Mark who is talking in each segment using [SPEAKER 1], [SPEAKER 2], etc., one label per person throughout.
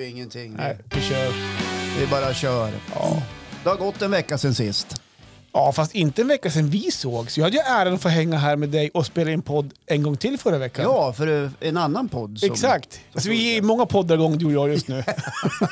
[SPEAKER 1] ju ingenting.
[SPEAKER 2] Nej, vi kör.
[SPEAKER 1] Vi bara kör.
[SPEAKER 2] Ja.
[SPEAKER 1] Det har gått en vecka sen sist.
[SPEAKER 2] ja, fast inte en vecka sedan vi sågs. Jag hade ju äran att få hänga här med dig och spela in podd en gång till förra veckan.
[SPEAKER 1] Ja, för en annan podd. Som,
[SPEAKER 2] Exakt. Så vi är i många poddar igång du och jag just nu.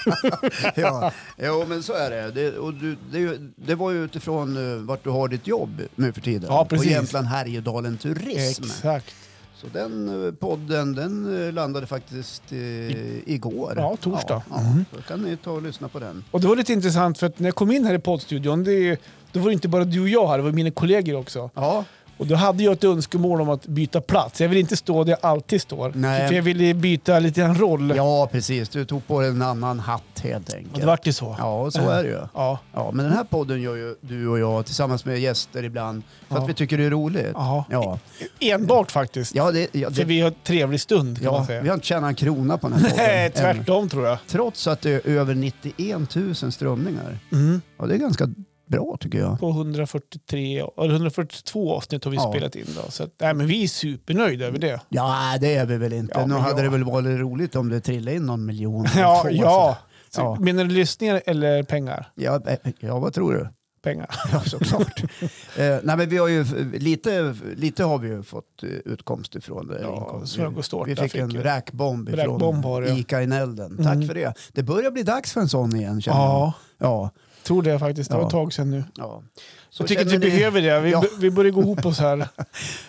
[SPEAKER 1] ja, jo, men så är det. Det, och du, det. det var ju utifrån uh, vart du har ditt jobb nu för tiden.
[SPEAKER 2] Ja, precis.
[SPEAKER 1] På Jämtland Härjedalen Turism.
[SPEAKER 2] Exakt.
[SPEAKER 1] Så den eh, podden den eh, landade faktiskt eh, igår.
[SPEAKER 2] Ja, torsdag. Mm.
[SPEAKER 1] Ja, ja. Så kan ni ta och lyssna på den.
[SPEAKER 2] Och det var lite intressant för att när jag kom in här i poddstudion, det är ju, då var det inte bara du och jag här, det var mina kollegor också.
[SPEAKER 1] Ja,
[SPEAKER 2] Och då hade jag ett önskemål om att byta plats. Jag vill inte stå där jag alltid står.
[SPEAKER 1] Nej.
[SPEAKER 2] För jag ville byta lite grann roll.
[SPEAKER 1] ja precis. Du tog på dig en annan hatt helt
[SPEAKER 2] Och
[SPEAKER 1] enkelt.
[SPEAKER 2] det vart ju så.
[SPEAKER 1] Ja, så är det ju.
[SPEAKER 2] Ja.
[SPEAKER 1] Ja, men den här podden gör ju du och jag tillsammans med gäster ibland för
[SPEAKER 2] Ja.
[SPEAKER 1] att vi tycker det är roligt.
[SPEAKER 2] Ja.
[SPEAKER 1] Ja,
[SPEAKER 2] Enbart faktiskt.
[SPEAKER 1] ja, det, ja,
[SPEAKER 2] För
[SPEAKER 1] det,
[SPEAKER 2] vi har en trevlig stund kan
[SPEAKER 1] ja
[SPEAKER 2] man säga.
[SPEAKER 1] vi har inte tjänat en krona på den här podden.
[SPEAKER 2] Nej,
[SPEAKER 1] än.
[SPEAKER 2] tvärtom tror jag.
[SPEAKER 1] Trots att det är över 91 000 strömningar.
[SPEAKER 2] Mm.
[SPEAKER 1] Ja, det är ganska bra tycker jag.
[SPEAKER 2] På 143, eller 142 avsnitt har vi
[SPEAKER 1] Ja.
[SPEAKER 2] spelat in. Då. Så att, nej, men vi är supernöjda över det.
[SPEAKER 1] Ja, det är vi väl inte.
[SPEAKER 2] Ja,
[SPEAKER 1] nu
[SPEAKER 2] men
[SPEAKER 1] hade
[SPEAKER 2] ja.
[SPEAKER 1] det väl varit roligt om det trillade in någon miljon. eller
[SPEAKER 2] Ja,
[SPEAKER 1] två,
[SPEAKER 2] ja. Så,
[SPEAKER 1] Ja.
[SPEAKER 2] Menar du lyssningar eller pengar?
[SPEAKER 1] så. ja. eh, Ja, vad tror du?
[SPEAKER 2] Pengar.
[SPEAKER 1] Ja, såklart. eh, nej, men vi har ju, f- lite, lite har vi ju fått eh, utkomst ifrån det.
[SPEAKER 2] Ja,
[SPEAKER 1] inkomst.
[SPEAKER 2] smörgås och tårta
[SPEAKER 1] vi fick
[SPEAKER 2] fick
[SPEAKER 1] en
[SPEAKER 2] vi.
[SPEAKER 1] räkbomb
[SPEAKER 2] Räkbomb
[SPEAKER 1] ifrån
[SPEAKER 2] var det, ja. Mm.
[SPEAKER 1] Ica i Nälden. Tack för det. Det börjar bli dags för en sån igen känner jag.
[SPEAKER 2] Ja,
[SPEAKER 1] Ja.
[SPEAKER 2] tror det faktiskt. Det var
[SPEAKER 1] Ja.
[SPEAKER 2] ett tag sedan nu.
[SPEAKER 1] ja. Så
[SPEAKER 2] Jag tycker att vi
[SPEAKER 1] känner ni-
[SPEAKER 2] behöver det. Vi,
[SPEAKER 1] Ja.
[SPEAKER 2] vi börjar gå ihop oss här.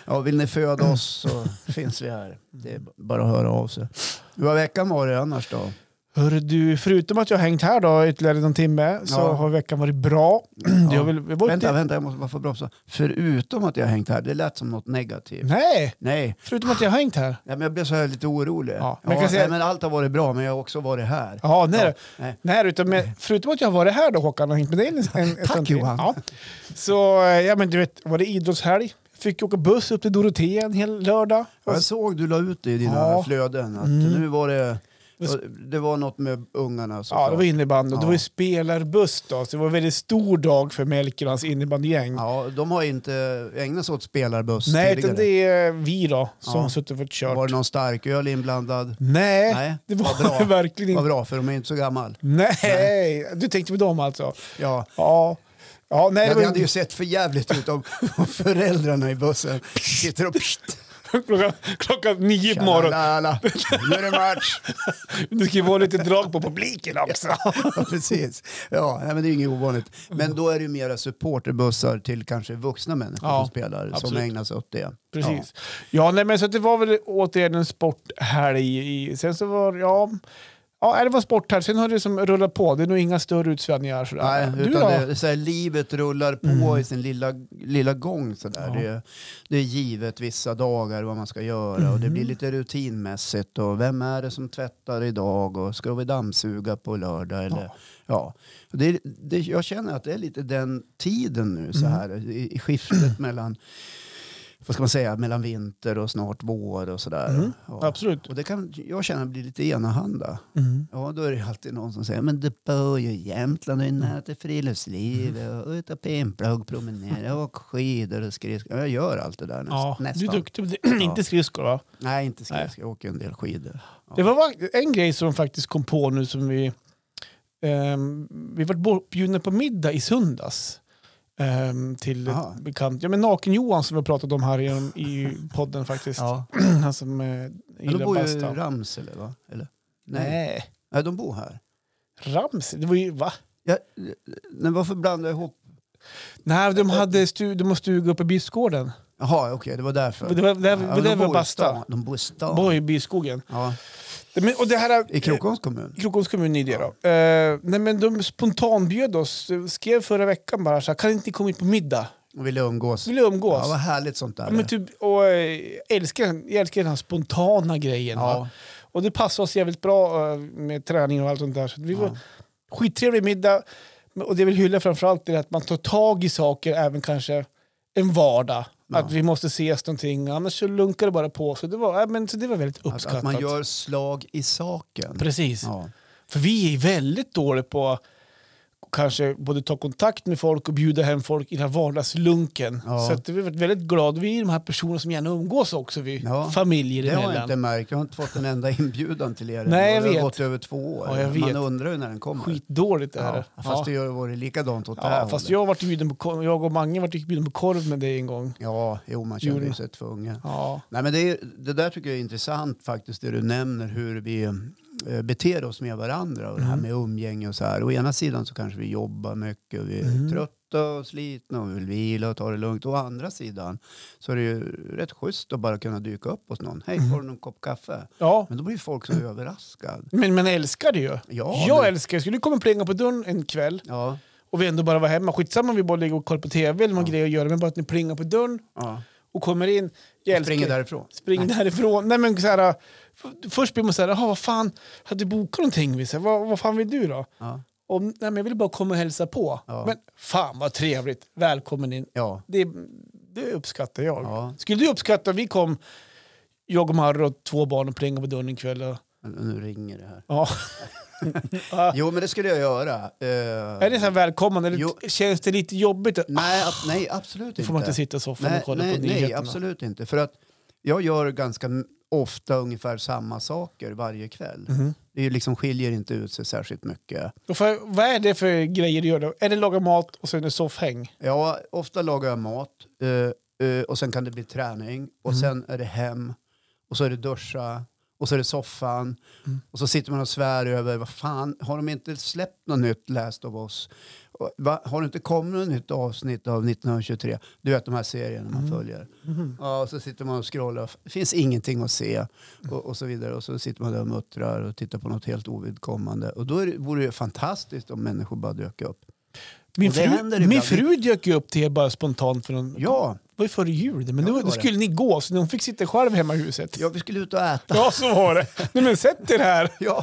[SPEAKER 1] Ja, vill ni föda oss så finns vi här. Det är b- bara att höra av sig. Hur har veckan varit annars då?
[SPEAKER 2] Hör du, förutom att jag har hängt här då ytterligare någon timme så
[SPEAKER 1] Ja.
[SPEAKER 2] har veckan varit bra. Det har väl varit
[SPEAKER 1] Vänta, vänta, jag måste bara få bromsa. Förutom att jag har hängt här, det lät som något negativt.
[SPEAKER 2] Nej,
[SPEAKER 1] Nej,
[SPEAKER 2] förutom att jag har hängt här.
[SPEAKER 1] nej men jag blev så här lite orolig.
[SPEAKER 2] Ja,
[SPEAKER 1] Ja,
[SPEAKER 2] men jag kan säga-
[SPEAKER 1] nej, men allt har varit bra, men jag har också varit här.
[SPEAKER 2] Ja, nej.
[SPEAKER 1] Ja, nej.
[SPEAKER 2] Nej, utan med, förutom att jag har varit här då Håkan och hängt med dig en, en en
[SPEAKER 1] Tack,
[SPEAKER 2] stund till.
[SPEAKER 1] Johan.
[SPEAKER 2] Ja. Så, eh, ja men du vet, var det idrottshelg? Fick åka buss upp till Dorotea en hel lördag.
[SPEAKER 1] Jag såg du la ut det i dina
[SPEAKER 2] Ja. Mm.
[SPEAKER 1] flöden. Att Nu var det, det var något med ungarna
[SPEAKER 2] Ja,
[SPEAKER 1] såklart.
[SPEAKER 2] det var innebandy och det
[SPEAKER 1] Ja.
[SPEAKER 2] var ju spelarbuss då, så det var en väldigt stor dag för Melker och hans innebandygäng.
[SPEAKER 1] ja, de har inte ägnat sig åt spelarbuss
[SPEAKER 2] Nej, utan
[SPEAKER 1] tidigare.
[SPEAKER 2] det är eh, vi då som
[SPEAKER 1] Ja.
[SPEAKER 2] suttit och fått kört.
[SPEAKER 1] Var det någon starköl inblandad?
[SPEAKER 2] Nej,
[SPEAKER 1] Nej,
[SPEAKER 2] det
[SPEAKER 1] vad
[SPEAKER 2] var
[SPEAKER 1] bra.
[SPEAKER 2] det verkligen
[SPEAKER 1] Vad
[SPEAKER 2] inte.
[SPEAKER 1] bra, för de är inte så gammal.
[SPEAKER 2] Nej. du tänkte på dem alltså?
[SPEAKER 1] Ja.
[SPEAKER 2] Ja. Ja, nej,
[SPEAKER 1] Ja,
[SPEAKER 2] det
[SPEAKER 1] det
[SPEAKER 2] var
[SPEAKER 1] hade ju sett för jävligt ut om om föräldrarna i bussen sitter och... Pst,
[SPEAKER 2] klockan, klockan nio på morgonen.
[SPEAKER 1] tjalalala, nu är det match!
[SPEAKER 2] Det ska ju vara lite drag på publiken också.
[SPEAKER 1] Ja, precis. Ja, nej, men det är inget ovanligt. Men då är det ju mera supporterbussar till kanske vuxna människor
[SPEAKER 2] Ja,
[SPEAKER 1] som spelar, som
[SPEAKER 2] absolut.
[SPEAKER 1] ägnar sig åt det.
[SPEAKER 2] Precis. Ja, nej, men så att det var väl återigen en sporthelg. i- Sen så var, ja, ja nej, det var sporthelg. Sen har det som rullat på. Det är nog inga större utsvängningar. Sådär.
[SPEAKER 1] Ja. Nej,
[SPEAKER 2] du
[SPEAKER 1] utan
[SPEAKER 2] då? Mm.
[SPEAKER 1] det, det är så här, livet rullar på i sin lilla, lilla gång. Så där. Det, är- det är givet vissa dagar vad man ska göra och det blir
[SPEAKER 2] Mm.
[SPEAKER 1] lite rutinmässigt. Och vem är det som tvättar idag och ska vi dammsuga på lördag? Eller, ja. Det, det, jag känner att det är lite den tiden nu
[SPEAKER 2] Mm.
[SPEAKER 1] så här i, i skiftet mellan vad ska man säga, mellan vinter och snart vår och sådär. Ja.
[SPEAKER 2] Mm. Absolut.
[SPEAKER 1] Och det kan jag känna blir lite enahanda.
[SPEAKER 2] Mm.
[SPEAKER 1] Ja, då är det alltid någon som säger men det bör ju Jämtland och nära till friluftsliv
[SPEAKER 2] Mm.
[SPEAKER 1] och ut och pimpla och promenera och åka skidor och skridskor. Jag gör allt det där näst,
[SPEAKER 2] Ja, du är
[SPEAKER 1] nästan.
[SPEAKER 2] duktig. på det. inte skridskor va?
[SPEAKER 1] Nej, inte skridskor. Jag åker en del skidor. Ja.
[SPEAKER 2] Det var va- en grej som faktiskt kom på nu som vi... ehm, vi var bortbjudna på middag i söndags. ehm, till
[SPEAKER 1] Aha.
[SPEAKER 2] ett bekant. Ja, men Naken-Johan som vi har pratat om här i, i podden faktiskt.
[SPEAKER 1] Ja.
[SPEAKER 2] Han som eh,
[SPEAKER 1] Men de
[SPEAKER 2] gillar
[SPEAKER 1] bor ju i
[SPEAKER 2] basta.
[SPEAKER 1] Ramsele va? Eller? Nej. Nej.
[SPEAKER 2] Nej.
[SPEAKER 1] de bor här.
[SPEAKER 2] Ramsel? Det var ju... Va?
[SPEAKER 1] Ja, nej, varför blandar jag ihop?
[SPEAKER 2] Nej, de hade stu, de har stuga uppe i Bispgården.
[SPEAKER 1] Jaha, okej, det var därför.
[SPEAKER 2] Det var där,
[SPEAKER 1] Ja,
[SPEAKER 2] det
[SPEAKER 1] men
[SPEAKER 2] där
[SPEAKER 1] de bor i
[SPEAKER 2] var Basta.
[SPEAKER 1] stan. De bor i stan.
[SPEAKER 2] Borg, Byskogen.
[SPEAKER 1] Ja.
[SPEAKER 2] Men, och det här...
[SPEAKER 1] I Krokoms kommun?
[SPEAKER 2] Krokoms kommun i det då. Eh, nej men de spontanbjöd oss, skrev förra veckan bara så här, kan inte ni komma hit på middag?
[SPEAKER 1] Och ville umgås?
[SPEAKER 2] Vill du umgås?
[SPEAKER 1] Ja, vad härligt sånt där.
[SPEAKER 2] Ja, men typ, och, eh, älskar, jag älskar den här spontana grejen.
[SPEAKER 1] Ja.
[SPEAKER 2] Va? Och det passar oss jävligt bra eh, med träning och allt sånt där. Så att vi var skittrevlig middag. Men- Och det jag vill hylla framförallt är att man tar tag i saker även kanske en vardag. Att vi måste ses någonting, annars så lunkar det bara på. Så det var, äh, men, så det var väldigt
[SPEAKER 1] Att,
[SPEAKER 2] uppskattat.
[SPEAKER 1] att man gör slag i saken.
[SPEAKER 2] Precis.
[SPEAKER 1] Ja.
[SPEAKER 2] För vi är väldigt dåliga på att och kanske både ta kontakt med folk och bjuda hem folk i den här vardagslunken.
[SPEAKER 1] Ja.
[SPEAKER 2] Så att vi har varit väldigt glada. Vi är de här personerna som gärna umgås också, vi
[SPEAKER 1] Ja.
[SPEAKER 2] familjer
[SPEAKER 1] Det har jag
[SPEAKER 2] emellan.
[SPEAKER 1] inte märkt. Jag har inte fått en enda inbjudan till er.
[SPEAKER 2] Nej, jag
[SPEAKER 1] det har
[SPEAKER 2] vet.
[SPEAKER 1] gått över två år.
[SPEAKER 2] Ja, jag
[SPEAKER 1] Man
[SPEAKER 2] vet.
[SPEAKER 1] undrar ju när den kommer.
[SPEAKER 2] Skitdåligt det här.
[SPEAKER 1] ja, fast det har varit likadant åt det här
[SPEAKER 2] ja, Äh, fast
[SPEAKER 1] hållet.
[SPEAKER 2] jag, varit bjuden på, korv- jag och Mange vart bjuden på korv med dig en gång.
[SPEAKER 1] Ja, jo, man känner ju
[SPEAKER 2] Gjorde-
[SPEAKER 1] sig tvungen.
[SPEAKER 2] Ja.
[SPEAKER 1] Nej, men det, är, det där tycker jag är intressant faktiskt, det du nämner hur vi eh, beter oss med varandra och det
[SPEAKER 2] Mm.
[SPEAKER 1] här med umgänge och så här. Å ena sidan så kanske vi jobbar mycket och vi är
[SPEAKER 2] Mm.
[SPEAKER 1] trötta och slitna och vill vila och ta det lugnt. Å andra sidan så är det ju rätt schysst att bara kunna dyka upp hos någon.
[SPEAKER 2] Mm.
[SPEAKER 1] Hej, får du någon kopp kaffe?
[SPEAKER 2] ja.
[SPEAKER 1] Men då blir ju folk så
[SPEAKER 2] Mm.
[SPEAKER 1] överraskad.
[SPEAKER 2] Men man älskar det ju.
[SPEAKER 1] Ja,
[SPEAKER 2] jag
[SPEAKER 1] men-
[SPEAKER 2] älskar det. Skulle du komma och plinga på dörren en kväll
[SPEAKER 1] Ja,
[SPEAKER 2] och vi ändå bara var hemma, skitsamma om vi bara ligger och kollar på tv eller någon grej att göra, men bara att ni plingar på dörren
[SPEAKER 1] ja.
[SPEAKER 2] och kommer in. Jag älskar
[SPEAKER 1] Springer
[SPEAKER 2] det.
[SPEAKER 1] därifrån.
[SPEAKER 2] Spring därifrån. Nej, men så här, f- först blir man så här, "Jaha, vad fan, hade du bokat någonting? Vi så här, vad, vad fan vill du då?
[SPEAKER 1] Ja,
[SPEAKER 2] Och, nej, men jag vill bara komma och hälsa på.
[SPEAKER 1] Ja.
[SPEAKER 2] Men fan vad trevligt, välkommen in.
[SPEAKER 1] ja.
[SPEAKER 2] Det, det uppskattar jag.
[SPEAKER 1] Ja.
[SPEAKER 2] Skulle du uppskatta om vi kom, jag och Marre och två barn och plingade på dörren en kväll? Och,
[SPEAKER 1] Men Nu ringer det här.
[SPEAKER 2] ja.
[SPEAKER 1] Jo, men det skulle jag göra. Eh,
[SPEAKER 2] Ah. Är det så här välkommen eller
[SPEAKER 1] Jo.
[SPEAKER 2] känns det lite jobbigt? att-
[SPEAKER 1] Nej, ab- nej, absolut
[SPEAKER 2] Då
[SPEAKER 1] inte.
[SPEAKER 2] får man inte sitta i soffan
[SPEAKER 1] nej,
[SPEAKER 2] och kolla
[SPEAKER 1] nej,
[SPEAKER 2] på
[SPEAKER 1] nej,
[SPEAKER 2] nyheterna.
[SPEAKER 1] absolut inte. För att jag gör ganska m- ofta ungefär samma saker varje kväll.
[SPEAKER 2] Mhm.
[SPEAKER 1] Det är ju liksom skiljer inte ut sig särskilt mycket.
[SPEAKER 2] Och för, vad är det för grejer du gör då? Är det laga mat och sen är det soffhäng?
[SPEAKER 1] Ja, ofta lagar jag mat eh, eh, och sen kan det bli träning och sen är det hem och så är det duscha och så är det soffan och så sitter man och svär över vad fan har de inte släppt något nytt Last of Us? Och, Va, har det inte kommit något nytt avsnitt av 1923? Du vet de här serierna man följer. Ja, och så sitter man och scrollar. Det finns ingenting att se. Och, och så vidare. Och så sitter man där och muttrar och tittar på något helt ovidkommande. Och då är det, vore det ju fantastiskt om människor bara dök upp.
[SPEAKER 2] Min,
[SPEAKER 1] Och det händer
[SPEAKER 2] fru, min
[SPEAKER 1] ibland.
[SPEAKER 2] fru dök ju upp till er bara spontant för någon,
[SPEAKER 1] Ja,
[SPEAKER 2] det var ju före jul, men
[SPEAKER 1] Ja,
[SPEAKER 2] då,
[SPEAKER 1] det
[SPEAKER 2] då
[SPEAKER 1] var
[SPEAKER 2] skulle ni gå så hon fick sitta själv hemma i huset.
[SPEAKER 1] ja vi skulle ut och äta.
[SPEAKER 2] Ja, så var det. Nej, men sätt er här.
[SPEAKER 1] Ja,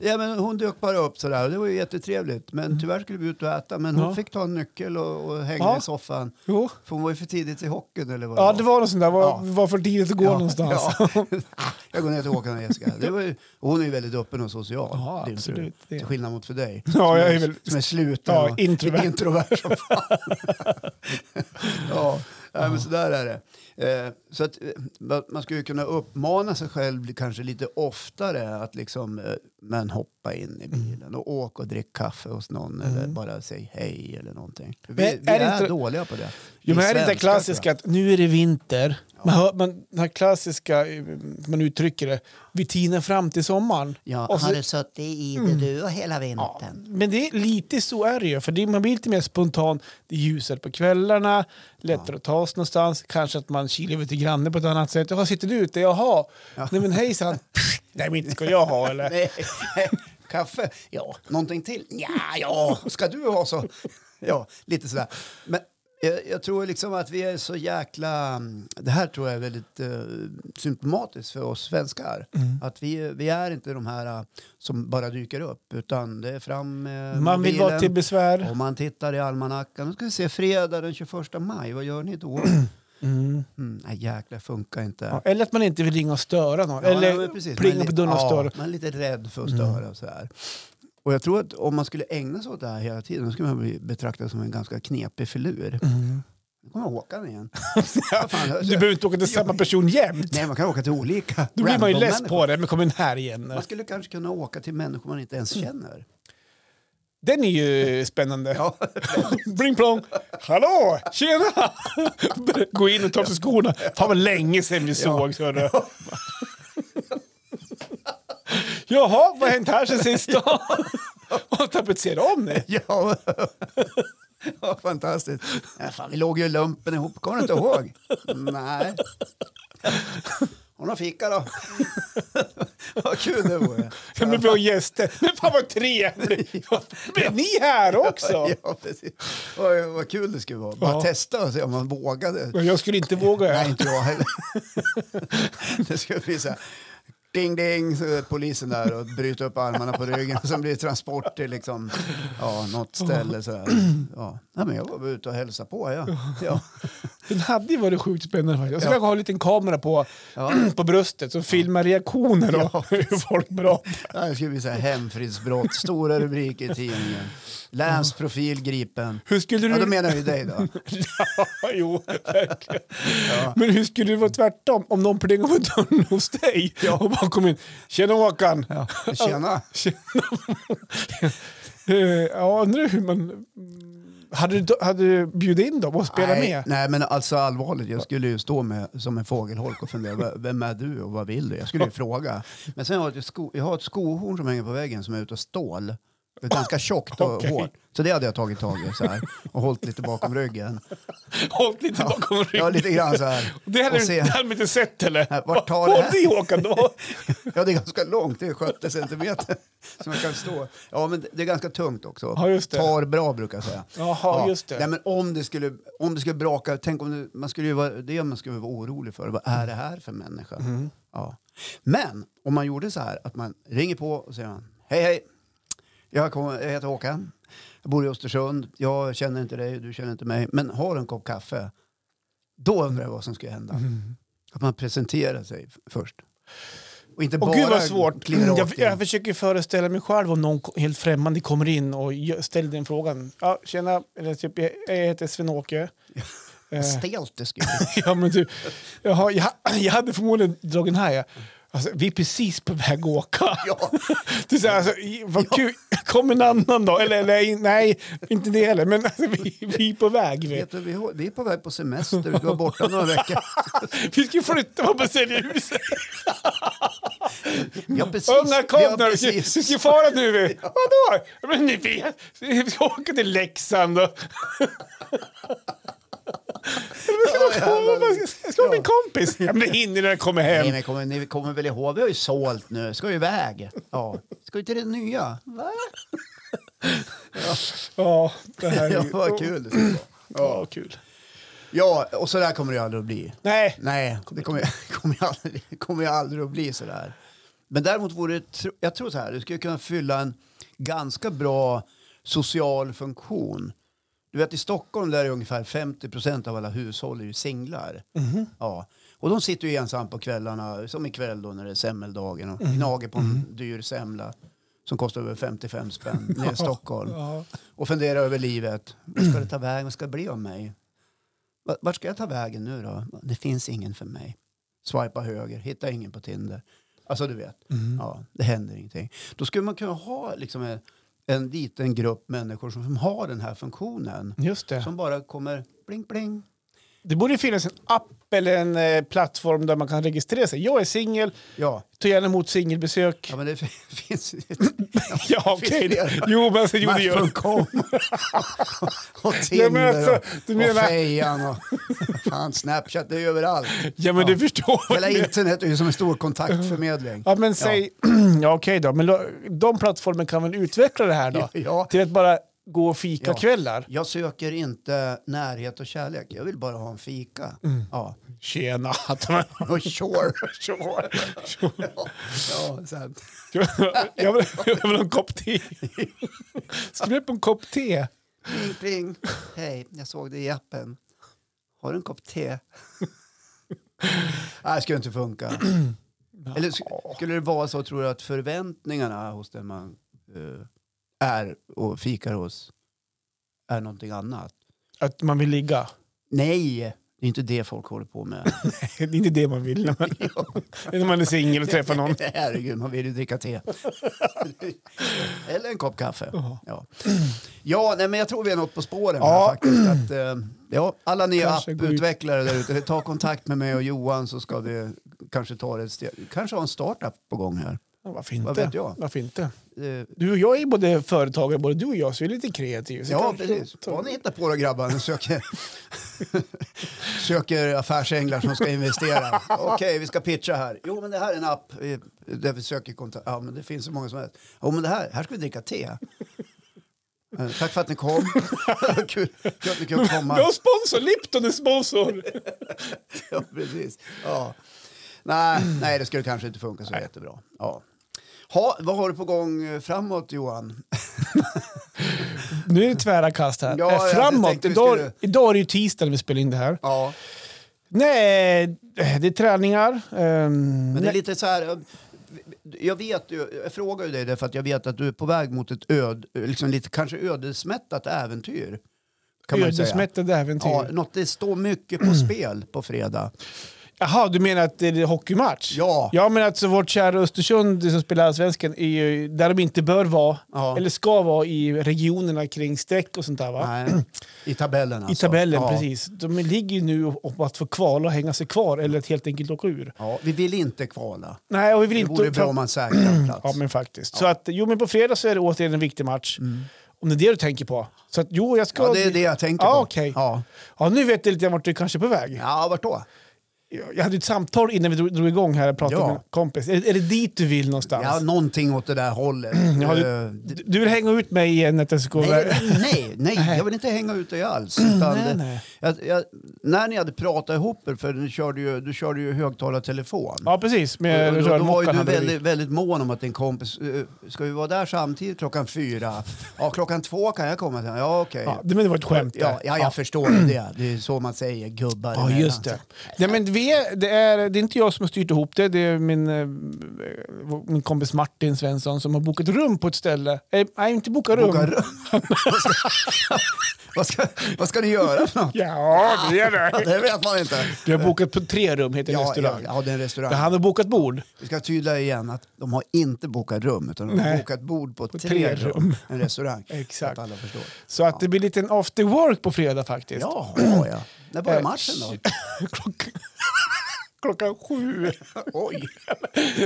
[SPEAKER 1] ja men hon dök bara upp sådär och det var ju jättetrevligt. Men tyvärr skulle vi ut och äta men hon
[SPEAKER 2] Mm. Ja.
[SPEAKER 1] fick ta en nyckel och, och hänga
[SPEAKER 2] Ja.
[SPEAKER 1] i soffan.
[SPEAKER 2] Jo.
[SPEAKER 1] För hon var ju för tidigt i hockeyn eller vad
[SPEAKER 2] Ja, det var något sånt där. Var,
[SPEAKER 1] Ja.
[SPEAKER 2] var för tidigt att gå
[SPEAKER 1] Ja,
[SPEAKER 2] någonstans.
[SPEAKER 1] ja. Jag går ner till Håkan och Jessica. Det var ju, och hon är ju väldigt öppen och social.
[SPEAKER 2] Ja,
[SPEAKER 1] din fru.
[SPEAKER 2] absolut. Det-
[SPEAKER 1] Till skillnad mot för dig.
[SPEAKER 2] Ja,
[SPEAKER 1] som
[SPEAKER 2] jag är väl-
[SPEAKER 1] Som är sluten
[SPEAKER 2] Ja,
[SPEAKER 1] och
[SPEAKER 2] introvert.
[SPEAKER 1] introvert som fan. ja, nej, men sådär är det. Eh, så att eh, man- man skulle ju kunna uppmana sig själv kanske lite oftare att liksom, eh, men hoppa in
[SPEAKER 2] Mm.
[SPEAKER 1] i bilen och åka och dricka kaffe hos någon eller bara säg hej eller någonting. Vi,
[SPEAKER 2] Men
[SPEAKER 1] vi
[SPEAKER 2] är det
[SPEAKER 1] är
[SPEAKER 2] inte-
[SPEAKER 1] dåliga på det. Vi
[SPEAKER 2] Jo, men är det inte
[SPEAKER 1] svenskar, tror jag.
[SPEAKER 2] klassiska att nu är det vinter? Man hör, man, den här klassiska, eh, man uttrycker det, vi tinar fram till sommaren.
[SPEAKER 1] Ja,
[SPEAKER 2] Och så- Mm.
[SPEAKER 1] har du suttit i det du och hela vintern?
[SPEAKER 2] Men det är lite så är det ju, för det, man blir lite mer spontan. Det är ljusare på kvällarna, lättare att ta sig någonstans, kanske att man kilar över till grannen på ett annat sätt. Jaha, sitter du ute? Jaha. Nej men hejsan. Nej men inte ska jag ha eller?
[SPEAKER 1] Nej. Kaffe? Ja. Någonting till? Ja, ja. Ska du ha så? Ja, lite sådär. Men jag, jag tror liksom att vi är så jäkla... mm, Det här tror jag är väldigt eh, symptomatiskt för oss svenskar.
[SPEAKER 2] Mm.
[SPEAKER 1] Att vi, vi är inte de här eh, som bara dyker upp, utan det är fram med
[SPEAKER 2] Man vill vara till besvär.
[SPEAKER 1] Om man tittar i almanackan, nu ska vi se, fredag den 21 maj, vad gör ni då?
[SPEAKER 2] Mm.
[SPEAKER 1] Mm, nej, jäklar, funkar inte.
[SPEAKER 2] Ja, eller att man inte vill ringa och störa någon.
[SPEAKER 1] Ja, nej,
[SPEAKER 2] eller
[SPEAKER 1] men precis.
[SPEAKER 2] plinga
[SPEAKER 1] Man är
[SPEAKER 2] på
[SPEAKER 1] li-
[SPEAKER 2] dörren och Mm.
[SPEAKER 1] ja,
[SPEAKER 2] störa.
[SPEAKER 1] Man är lite rädd för att störa och så här. Och jag tror att om man skulle ägna sig åt det här hela tiden då skulle man bli betraktad som en ganska knepig filur. Nu kommer Håkan igen. Vad fan,
[SPEAKER 2] Mm. Du
[SPEAKER 1] alltså,
[SPEAKER 2] behöver inte åka till samma person jämt.
[SPEAKER 1] Nej, man kan åka till olika
[SPEAKER 2] Då blir man ju
[SPEAKER 1] random
[SPEAKER 2] less
[SPEAKER 1] människor.
[SPEAKER 2] på det, men kommer in här Mm. igen.
[SPEAKER 1] Man skulle kanske kunna åka till människor man inte ens känner.
[SPEAKER 2] Den är ju spännande.
[SPEAKER 1] Ja,
[SPEAKER 2] Bling plong! Hallå! Tjena! Gå in och ta av sig skorna. Fan vad länge sedan vi sågs. hörru. Jaha, vad har hänt här sen sist då? Har tapetserat om det?
[SPEAKER 1] ja. ja fantastiskt. Ja, fan, vi låg ju i lumpen ihop, kommer du inte ihåg? Nej. Har du någon fika då? Vad kul det vore.
[SPEAKER 2] Ja, men vi har gäster. Men fan vad trevligt! Men ni här också?
[SPEAKER 1] Ja, precis. Oj, vad kul det skulle vara. Bara
[SPEAKER 2] Ja.
[SPEAKER 1] testa och se om man vågade.
[SPEAKER 2] Men Jag skulle inte våga.
[SPEAKER 1] Nej,
[SPEAKER 2] jag.
[SPEAKER 1] inte jag heller. det skulle bli så här. Ding, ding, så är polisen där och bryter upp armarna på ryggen. Sen blir det transport till liksom, ja, något ställe. Så här. Ja. Nej, men jag var ute och hälsade på. Ja. Ja.
[SPEAKER 2] Den hade ju varit sjukt spännande. faktiskt. Och så kanske ha en liten kamera på,
[SPEAKER 1] Ja.
[SPEAKER 2] på bröstet som filmar reaktioner och hur folk pratar.
[SPEAKER 1] Det här skulle bli så här hemfridsbrott, stora rubriker i tidningen. Länsprofil gripen.
[SPEAKER 2] Hur skulle du...
[SPEAKER 1] Ja, då menar vi dig då.
[SPEAKER 2] Ja, jo, verkligen. Men hur skulle det vara tvärtom? Om någon plingar på dörren hos dig och bara kommer in. Tjena Håkan! Ja,
[SPEAKER 1] Tjena!
[SPEAKER 2] Tjena. Eh, ja undrar hur man... Hade du, hade du bjudit in dem och spelat
[SPEAKER 1] nej,
[SPEAKER 2] med?
[SPEAKER 1] nej, men alltså allvarligt, jag skulle ju stå med, som en fågelholk och fundera, "Vad- vem är du och vad vill du? Jag skulle ju fråga. Men sen har jag, ett sko, jag har ett skohorn som hänger på väggen som är utav stål. Det är ganska tjockt och
[SPEAKER 2] Okej.
[SPEAKER 1] hårt. Så det hade jag tagit tag i så här, och hållit lite bakom ryggen.
[SPEAKER 2] Hållit lite bakom ryggen.
[SPEAKER 1] Ja, lite grann så här.
[SPEAKER 2] Det hade
[SPEAKER 1] Och
[SPEAKER 2] du
[SPEAKER 1] se.
[SPEAKER 2] det hade de inte sett eller?
[SPEAKER 1] Nej, vart tar det
[SPEAKER 2] Håll
[SPEAKER 1] här?
[SPEAKER 2] i Håkan! det var-
[SPEAKER 1] Ja, det är ganska långt, det är 70 centimeter som man kan stå. Ja, men det är ganska tungt också.
[SPEAKER 2] Ja, just det.
[SPEAKER 1] Tar bra brukar jag säga.
[SPEAKER 2] Jaha,
[SPEAKER 1] ja.
[SPEAKER 2] just det.
[SPEAKER 1] Nej, men om det skulle, om det skulle braka, tänk om det, man skulle ju vara, det man skulle vara orolig för. Vad är det här för människa?
[SPEAKER 2] Mm.
[SPEAKER 1] Ja. Men om man gjorde så här, att man ringer på och säger hej, hej, jag, kommer, jag heter Håkan, jag bor i Östersund, jag känner inte dig, du känner inte mig, men har du en kopp kaffe? Då undrar jag vad som skulle hända.
[SPEAKER 2] Mm.
[SPEAKER 1] Att man presenterar sig f- först. Och inte
[SPEAKER 2] Åh
[SPEAKER 1] bara
[SPEAKER 2] gud vad svårt.
[SPEAKER 1] kliver
[SPEAKER 2] Jag,
[SPEAKER 1] rakt in.
[SPEAKER 2] jag försöker föreställa mig själv om någon ko- helt främmande kommer in och gö- ställer den frågan. Ja, tjena, eller typ, jag jag heter Sven-Åke. Eh,
[SPEAKER 1] Stelt det skulle bli.
[SPEAKER 2] ja, men du, jaha, jag, jag hade förmodligen dragit den här. Ja. Alltså, vi är precis på väg att åka.
[SPEAKER 1] Ja.
[SPEAKER 2] Du säger, alltså, i- vad kul. Kom en annan då. Eller, eller in- nej, inte det heller. Men alltså, vi, vi är på väg. Vi,
[SPEAKER 1] Vet du, vi har- vi är på väg på semester, du ska vara borta några veckor.
[SPEAKER 2] vi ska flytta på säljarhuset.
[SPEAKER 1] Vi har precis,
[SPEAKER 2] Unga kom
[SPEAKER 1] vi har
[SPEAKER 2] nu, vi
[SPEAKER 1] precis-
[SPEAKER 2] ska- vi ska fara nu. Vi. Vadå? Men ni vet, vi ska åka till Leksand. Och...
[SPEAKER 1] Ja,
[SPEAKER 2] Jag kommer,
[SPEAKER 1] jävlar.
[SPEAKER 2] jag ska- jag ska vara min kompis. Ja, men det hinner när jag kommer
[SPEAKER 1] Nej,
[SPEAKER 2] hem.
[SPEAKER 1] men kommer, ni kommer väl ihåg, vi har ju sålt nu, ska ju iväg. Ja. Ska ju till det nya. Va?
[SPEAKER 2] Ja, det här är
[SPEAKER 1] Ja,
[SPEAKER 2] ju...
[SPEAKER 1] vad kul det ska vara.
[SPEAKER 2] Ja, kul.
[SPEAKER 1] Ja, och så där kommer det ju aldrig att bli.
[SPEAKER 2] Nej,
[SPEAKER 1] Nej, det kommer, kommer, ju aldrig, kommer ju aldrig att bli sådär. Men däremot vore det, tro- jag tror så här, du skulle kunna fylla en ganska bra social funktion. Du vet i Stockholm där är ungefär 50 procent av alla hushåll är ju singlar. Ja. Och de sitter ju ensam på kvällarna, som ikväll då när det är semmeldagen och gnager på en dyr semla som kostar över 55 spänn nere i Stockholm
[SPEAKER 2] ja.
[SPEAKER 1] och fundera över livet. Vad ska det ta vägen? Vad ska det bli av mig? Va- Vart ska jag ta vägen nu då? Det finns ingen för mig. Swipa höger, hitta ingen på Tinder. Alltså du vet,
[SPEAKER 2] Mm.
[SPEAKER 1] ja, det händer ingenting. Då skulle man kunna ha liksom en, en liten grupp människor som, som har den här funktionen.
[SPEAKER 2] just det.
[SPEAKER 1] Som bara kommer bling bling.
[SPEAKER 2] Det borde ju finnas en app eller en eh, plattform där man kan registrera sig. Jag är singel,
[SPEAKER 1] Ja,
[SPEAKER 2] tar gärna emot singelbesök.
[SPEAKER 1] ja men det finns...
[SPEAKER 2] Ja, okej.
[SPEAKER 1] finns flera.
[SPEAKER 2] Jo, men alltså, jo, det gör...
[SPEAKER 1] Match.com och
[SPEAKER 2] Ja, men
[SPEAKER 1] Tinder
[SPEAKER 2] alltså,
[SPEAKER 1] och,
[SPEAKER 2] du
[SPEAKER 1] och
[SPEAKER 2] menar-
[SPEAKER 1] fejan och fan, Snapchat, det är ju överallt.
[SPEAKER 2] Ja, men du förstår. vad
[SPEAKER 1] Hela
[SPEAKER 2] jag menar.
[SPEAKER 1] internet är ju som en stor kontaktförmedling.
[SPEAKER 2] Ja, men säg... Ja, okej då. Men lo- de plattformen kan väl utveckla det här då?
[SPEAKER 1] Ja,
[SPEAKER 2] Till att bara gå och fika
[SPEAKER 1] Ja.
[SPEAKER 2] kvällar?
[SPEAKER 1] jag söker inte närhet och kärlek. Jag vill bara ha en fika.
[SPEAKER 2] Mm.
[SPEAKER 1] Ja.
[SPEAKER 2] Tjena!
[SPEAKER 1] Och sure.
[SPEAKER 2] Tjena.
[SPEAKER 1] Ja, ja, så här.
[SPEAKER 2] jag, vill, jag vill ha en kopp te. Ska vi på en kopp te?
[SPEAKER 1] Pling, pling. Hej, jag såg dig i appen. Har du en kopp te? Nej, det skulle inte funka. Eller sk- skulle det vara så, tror du, att förväntningarna hos den man eh, är och fikar hos är någonting annat?
[SPEAKER 2] Att man vill ligga.
[SPEAKER 1] Nej, det är inte det folk håller på med.
[SPEAKER 2] Det är inte det man vill när man, när man är singel och träffar någon.
[SPEAKER 1] Herregud, man vill ju dricka te. Eller en kopp kaffe. Ja, ja nej, men jag tror vi är något på spåren här
[SPEAKER 2] Ja.
[SPEAKER 1] faktiskt. Att, eh, ja, alla ni
[SPEAKER 2] Kanske gå ut.
[SPEAKER 1] apputvecklare där ute, ta kontakt med mig och Johan så ska vi kanske ta det ett steg. Kanske ha en startup på gång här.
[SPEAKER 2] Ja, Varför inte?
[SPEAKER 1] Vad vet jag?
[SPEAKER 2] Varför inte?
[SPEAKER 1] Eh,
[SPEAKER 2] Du och jag är både företagare, både du och jag, så vi är lite kreativa. Så
[SPEAKER 1] Ja,
[SPEAKER 2] kanske-
[SPEAKER 1] precis. Vad ni hittar på då grabbar, ni söker, söker affärsänglar som ska investera. Okej, vi ska pitcha här. Jo, men det här är en app eh, där vi söker kontakt. Ja, men det finns så många som helst. Jo, men det här, här ska vi dricka te. Eh, Tack för att ni kom. kul, kul att ni kunde
[SPEAKER 2] Vi har
[SPEAKER 1] komma.
[SPEAKER 2] sponsor! Lipton är sponsor!
[SPEAKER 1] Ja, precis. Ja. Nej, nej, det skulle kanske inte funka så jättebra. Ja. Ha, vad har du på gång eh, framåt, Johan?
[SPEAKER 2] Nu är det tvära kast här.
[SPEAKER 1] Ja,
[SPEAKER 2] Eh,
[SPEAKER 1] jag
[SPEAKER 2] Framåt.
[SPEAKER 1] tänkte vi
[SPEAKER 2] Idag,
[SPEAKER 1] skulle-
[SPEAKER 2] idag är det ju tisdag när vi spelar in det här.
[SPEAKER 1] Ja.
[SPEAKER 2] Nej, eh, det är träningar. ehm,
[SPEAKER 1] Men det är
[SPEAKER 2] nej.
[SPEAKER 1] lite så här... Jag vet ju, jag frågar ju dig därför att jag vet att du är på väg mot ett öd, liksom lite kanske ödesmättat äventyr. Kan man ju säga.
[SPEAKER 2] Ödesmättade äventyr. Mm.
[SPEAKER 1] Ja, något det står mycket på spel på fredag.
[SPEAKER 2] Jaha, du menar att det är hockeymatch?
[SPEAKER 1] Ja.
[SPEAKER 2] Ja, men alltså vårt kära Östersund som spelar Allsvenskan är ju där de inte bör vara,
[SPEAKER 1] Ja.
[SPEAKER 2] eller ska vara, i regionerna kring streck och sånt där va?
[SPEAKER 1] Nej, I tabellen
[SPEAKER 2] I
[SPEAKER 1] alltså.
[SPEAKER 2] tabellen,
[SPEAKER 1] ja.
[SPEAKER 2] precis. De ligger ju nu om att få kvala och hänga sig kvar eller att helt enkelt åka ur.
[SPEAKER 1] Ja, vi vill inte kvala.
[SPEAKER 2] Nej, och vi vill
[SPEAKER 1] Det
[SPEAKER 2] inte...
[SPEAKER 1] vore bra om man säkrar en plats.
[SPEAKER 2] Ja, men faktiskt. Så att, jo, men på fredag så är det återigen en viktig match. Om det är det du tänker på. Så att, jo, jag ska...
[SPEAKER 1] Mm. Ja, det är det jag tänker
[SPEAKER 2] Ja,
[SPEAKER 1] på.
[SPEAKER 2] okej.
[SPEAKER 1] Ja.
[SPEAKER 2] Ja, nu vet jag lite grann vart du kanske är på väg.
[SPEAKER 1] ja, vart då?
[SPEAKER 2] Jag hade ett samtal innan vi drog, drog igång här och pratade
[SPEAKER 1] Ja.
[SPEAKER 2] med en kompis. Är, är det dit du vill någonstans?
[SPEAKER 1] Ja, någonting åt det där hållet.
[SPEAKER 2] Ja, du-
[SPEAKER 1] Eh, d-
[SPEAKER 2] Du- Du vill hänga ut mig igen att jag ska gå
[SPEAKER 1] Nej,
[SPEAKER 2] över-
[SPEAKER 1] nej, nej, jag vill inte hänga ut dig alls. Utan
[SPEAKER 2] nej,
[SPEAKER 1] eh,
[SPEAKER 2] nej.
[SPEAKER 1] Jag, jag, när ni hade pratat ihop er, för du körde ju, du körde ju högtalartelefon.
[SPEAKER 2] Ja, precis.
[SPEAKER 1] Och-
[SPEAKER 2] Med
[SPEAKER 1] och då, då var ju
[SPEAKER 2] rörmokaren
[SPEAKER 1] du
[SPEAKER 2] här bredvid.
[SPEAKER 1] väldigt, väldigt mån om att din kompis, eh, ska vi vara där samtidigt klockan fyra? Ja, klockan två kan jag komma. Ja, okej.
[SPEAKER 2] Ja, det, men det var ett skämt. där.
[SPEAKER 1] Ja, ja, jag förstår ju det. Det är så man säger, gubbar
[SPEAKER 2] Ja,
[SPEAKER 1] emellan.
[SPEAKER 2] just det. Nej, men vi är, det, är, det är inte jag som har styrt ihop det. Det är min, eh, min kompis Martin Svensson som har bokat rum på ett ställe. Eh, Nej, inte bokat rum.
[SPEAKER 1] Boka rum. vad, ska, vad, ska, vad ska du göra för något?
[SPEAKER 2] Ja, det är det.
[SPEAKER 1] Det vet man inte.
[SPEAKER 2] Vi har bokat på tre rum, heter
[SPEAKER 1] Ja, ja,
[SPEAKER 2] restaurang.
[SPEAKER 1] ja, det är en restaurang.
[SPEAKER 2] Där han har bokat bord.
[SPEAKER 1] Vi ska tydliga igen att de har inte bokat rum utan de har
[SPEAKER 2] Nej.
[SPEAKER 1] bokat bord på, tre,
[SPEAKER 2] tre
[SPEAKER 1] rum.
[SPEAKER 2] rum.
[SPEAKER 1] En restaurang.
[SPEAKER 2] Exakt.
[SPEAKER 1] Så att alla förstår.
[SPEAKER 2] Så att det blir lite en after work på fredag faktiskt.
[SPEAKER 1] Jaha, ja. När börjar
[SPEAKER 2] Eh,
[SPEAKER 1] matchen då?
[SPEAKER 2] Klock- Klockan sju.
[SPEAKER 1] Oj.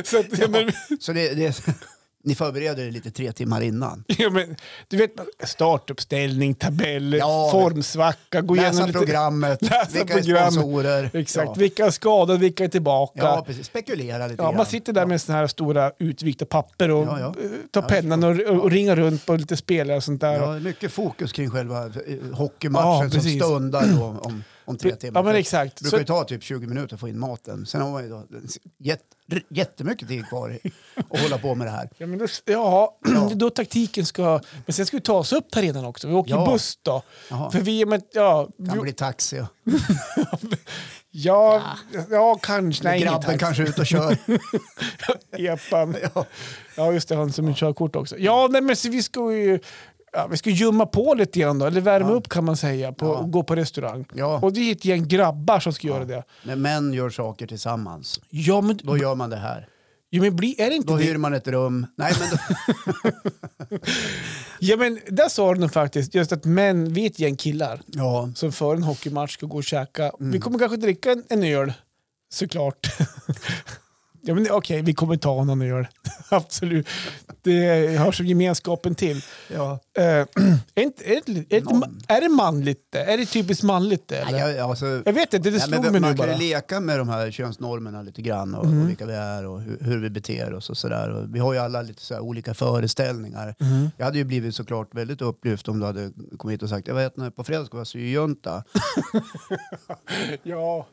[SPEAKER 2] Så att, men,
[SPEAKER 1] Så det, det, ni förbereder er lite tre timmar innan?
[SPEAKER 2] Ja, men, du vet, startuppställning, tabell,
[SPEAKER 1] Ja.
[SPEAKER 2] formsvacka, gå igenom
[SPEAKER 1] Läsa
[SPEAKER 2] lite...
[SPEAKER 1] programmet,
[SPEAKER 2] Läsa
[SPEAKER 1] vilka är
[SPEAKER 2] program.
[SPEAKER 1] sponsorer?
[SPEAKER 2] Exakt,
[SPEAKER 1] Ja.
[SPEAKER 2] vilka är skadade, vilka är tillbaka.
[SPEAKER 1] Ja,
[SPEAKER 2] Ja,
[SPEAKER 1] precis. Spekulera lite
[SPEAKER 2] man sitter där med såna här stora utvikta papper och
[SPEAKER 1] Ja, ja.
[SPEAKER 2] eh, tar pennan och, och ringer runt på lite spelare och sånt där.
[SPEAKER 1] Ja, mycket fokus kring själva eh, hockeymatchen
[SPEAKER 2] Ja,
[SPEAKER 1] som
[SPEAKER 2] precis.
[SPEAKER 1] stundar då om, om, om tre timmar.
[SPEAKER 2] Ja, men
[SPEAKER 1] För
[SPEAKER 2] exakt.
[SPEAKER 1] Det brukar ju ta typ 20 minuter att få in maten. Sen har man ju då jätt, r- jättemycket tid kvar i- att hålla på med det här.
[SPEAKER 2] Ja, men då, ja, det är då taktiken ska... Men sen ska vi ta oss upp här redan också. Vi åker
[SPEAKER 1] Ja.
[SPEAKER 2] ju buss då.
[SPEAKER 1] Jaha.
[SPEAKER 2] För vi är med... Ja,
[SPEAKER 1] Kan
[SPEAKER 2] vi-
[SPEAKER 1] bli taxi. och-
[SPEAKER 2] ja, ja, kanske. Nej,
[SPEAKER 1] grabben
[SPEAKER 2] tack.
[SPEAKER 1] kanske ut och kör.
[SPEAKER 2] Epan.
[SPEAKER 1] Ja.
[SPEAKER 2] Ja, just det. Han som ja. körkort också. Ja, nej, men så vi ska ju... Ja, vi ska ljumma på lite grann då, eller värma upp kan man säga, på, och gå på restaurang.
[SPEAKER 1] Ja.
[SPEAKER 2] Och det är ett gäng grabbar som ska göra det.
[SPEAKER 1] När män gör saker tillsammans,
[SPEAKER 2] Ja, men,
[SPEAKER 1] då gör man det här.
[SPEAKER 2] ja, men bli, är det inte
[SPEAKER 1] Då
[SPEAKER 2] det?
[SPEAKER 1] hyr man ett rum. Nej, men då,
[SPEAKER 2] Ja, men där sa du nog faktiskt, just att män, vi är ett gäng killar
[SPEAKER 1] ja.
[SPEAKER 2] som före en hockeymatch ska gå och käka.
[SPEAKER 1] Mm.
[SPEAKER 2] Vi kommer kanske dricka en, en öl, såklart. ja, men det- okej, vi kommer ta någon öl. Absolut. Det hör som gemenskapen till.
[SPEAKER 1] Ja.
[SPEAKER 2] Eh, är, inte, är, det, är, det,
[SPEAKER 1] Någon.
[SPEAKER 2] är det manligt det? Är det typiskt manligt det? Eller?
[SPEAKER 1] Nej, jag, alltså,
[SPEAKER 2] Jag vet inte, det
[SPEAKER 1] Nej,
[SPEAKER 2] slog
[SPEAKER 1] men
[SPEAKER 2] mig nu
[SPEAKER 1] man kan
[SPEAKER 2] bara. Mm-hmm.
[SPEAKER 1] ju leka med de här könsnormerna lite grann och, och vilka vi är och hur, hur vi beter oss och sådär. Och Vi har ju alla lite så här olika föreställningar.
[SPEAKER 2] Mm-hmm.
[SPEAKER 1] Jag hade ju blivit såklart väldigt upplyft om du hade kommit hit och sagt jag vet när på fredag ska vara syjunta.
[SPEAKER 2] Ja.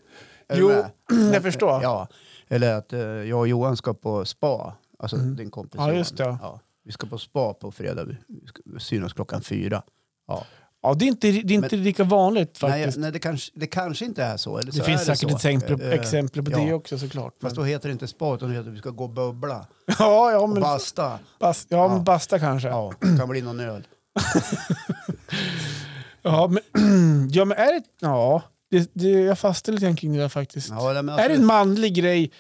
[SPEAKER 1] Är du
[SPEAKER 2] Jo,
[SPEAKER 1] med?
[SPEAKER 2] jag förstår.
[SPEAKER 1] Ja. Eller att eh, jag och Johan ska på spa, alltså din kompis
[SPEAKER 2] Mm. Ja,
[SPEAKER 1] Johan.
[SPEAKER 2] just det.
[SPEAKER 1] Ja. Vi ska på spa på fredag, vi vi ska synas klockan fyra. Ja.
[SPEAKER 2] Ja, det är inte, det är inte lika vanligt
[SPEAKER 1] Nej,
[SPEAKER 2] faktiskt.
[SPEAKER 1] nej det, kanske, det kanske inte är så. Eller så
[SPEAKER 2] det finns
[SPEAKER 1] är
[SPEAKER 2] säkert
[SPEAKER 1] så.
[SPEAKER 2] exempel,
[SPEAKER 1] Eh,
[SPEAKER 2] exempel på
[SPEAKER 1] ja.
[SPEAKER 2] det också såklart.
[SPEAKER 1] Fast då heter det inte spa utan det heter vi ska gå och bubbla,
[SPEAKER 2] Ja, ja, men,
[SPEAKER 1] basta.
[SPEAKER 2] bas, ja,
[SPEAKER 1] Ja.
[SPEAKER 2] men basta kanske. Ja.
[SPEAKER 1] Ja, det kan bli någon öl.
[SPEAKER 2] men, ja, men är det... Ja, det, det, jag fastnade lite grann kring det där faktiskt.
[SPEAKER 1] Ja, nej, men alltså,
[SPEAKER 2] är det
[SPEAKER 1] absolut.
[SPEAKER 2] en manlig grej?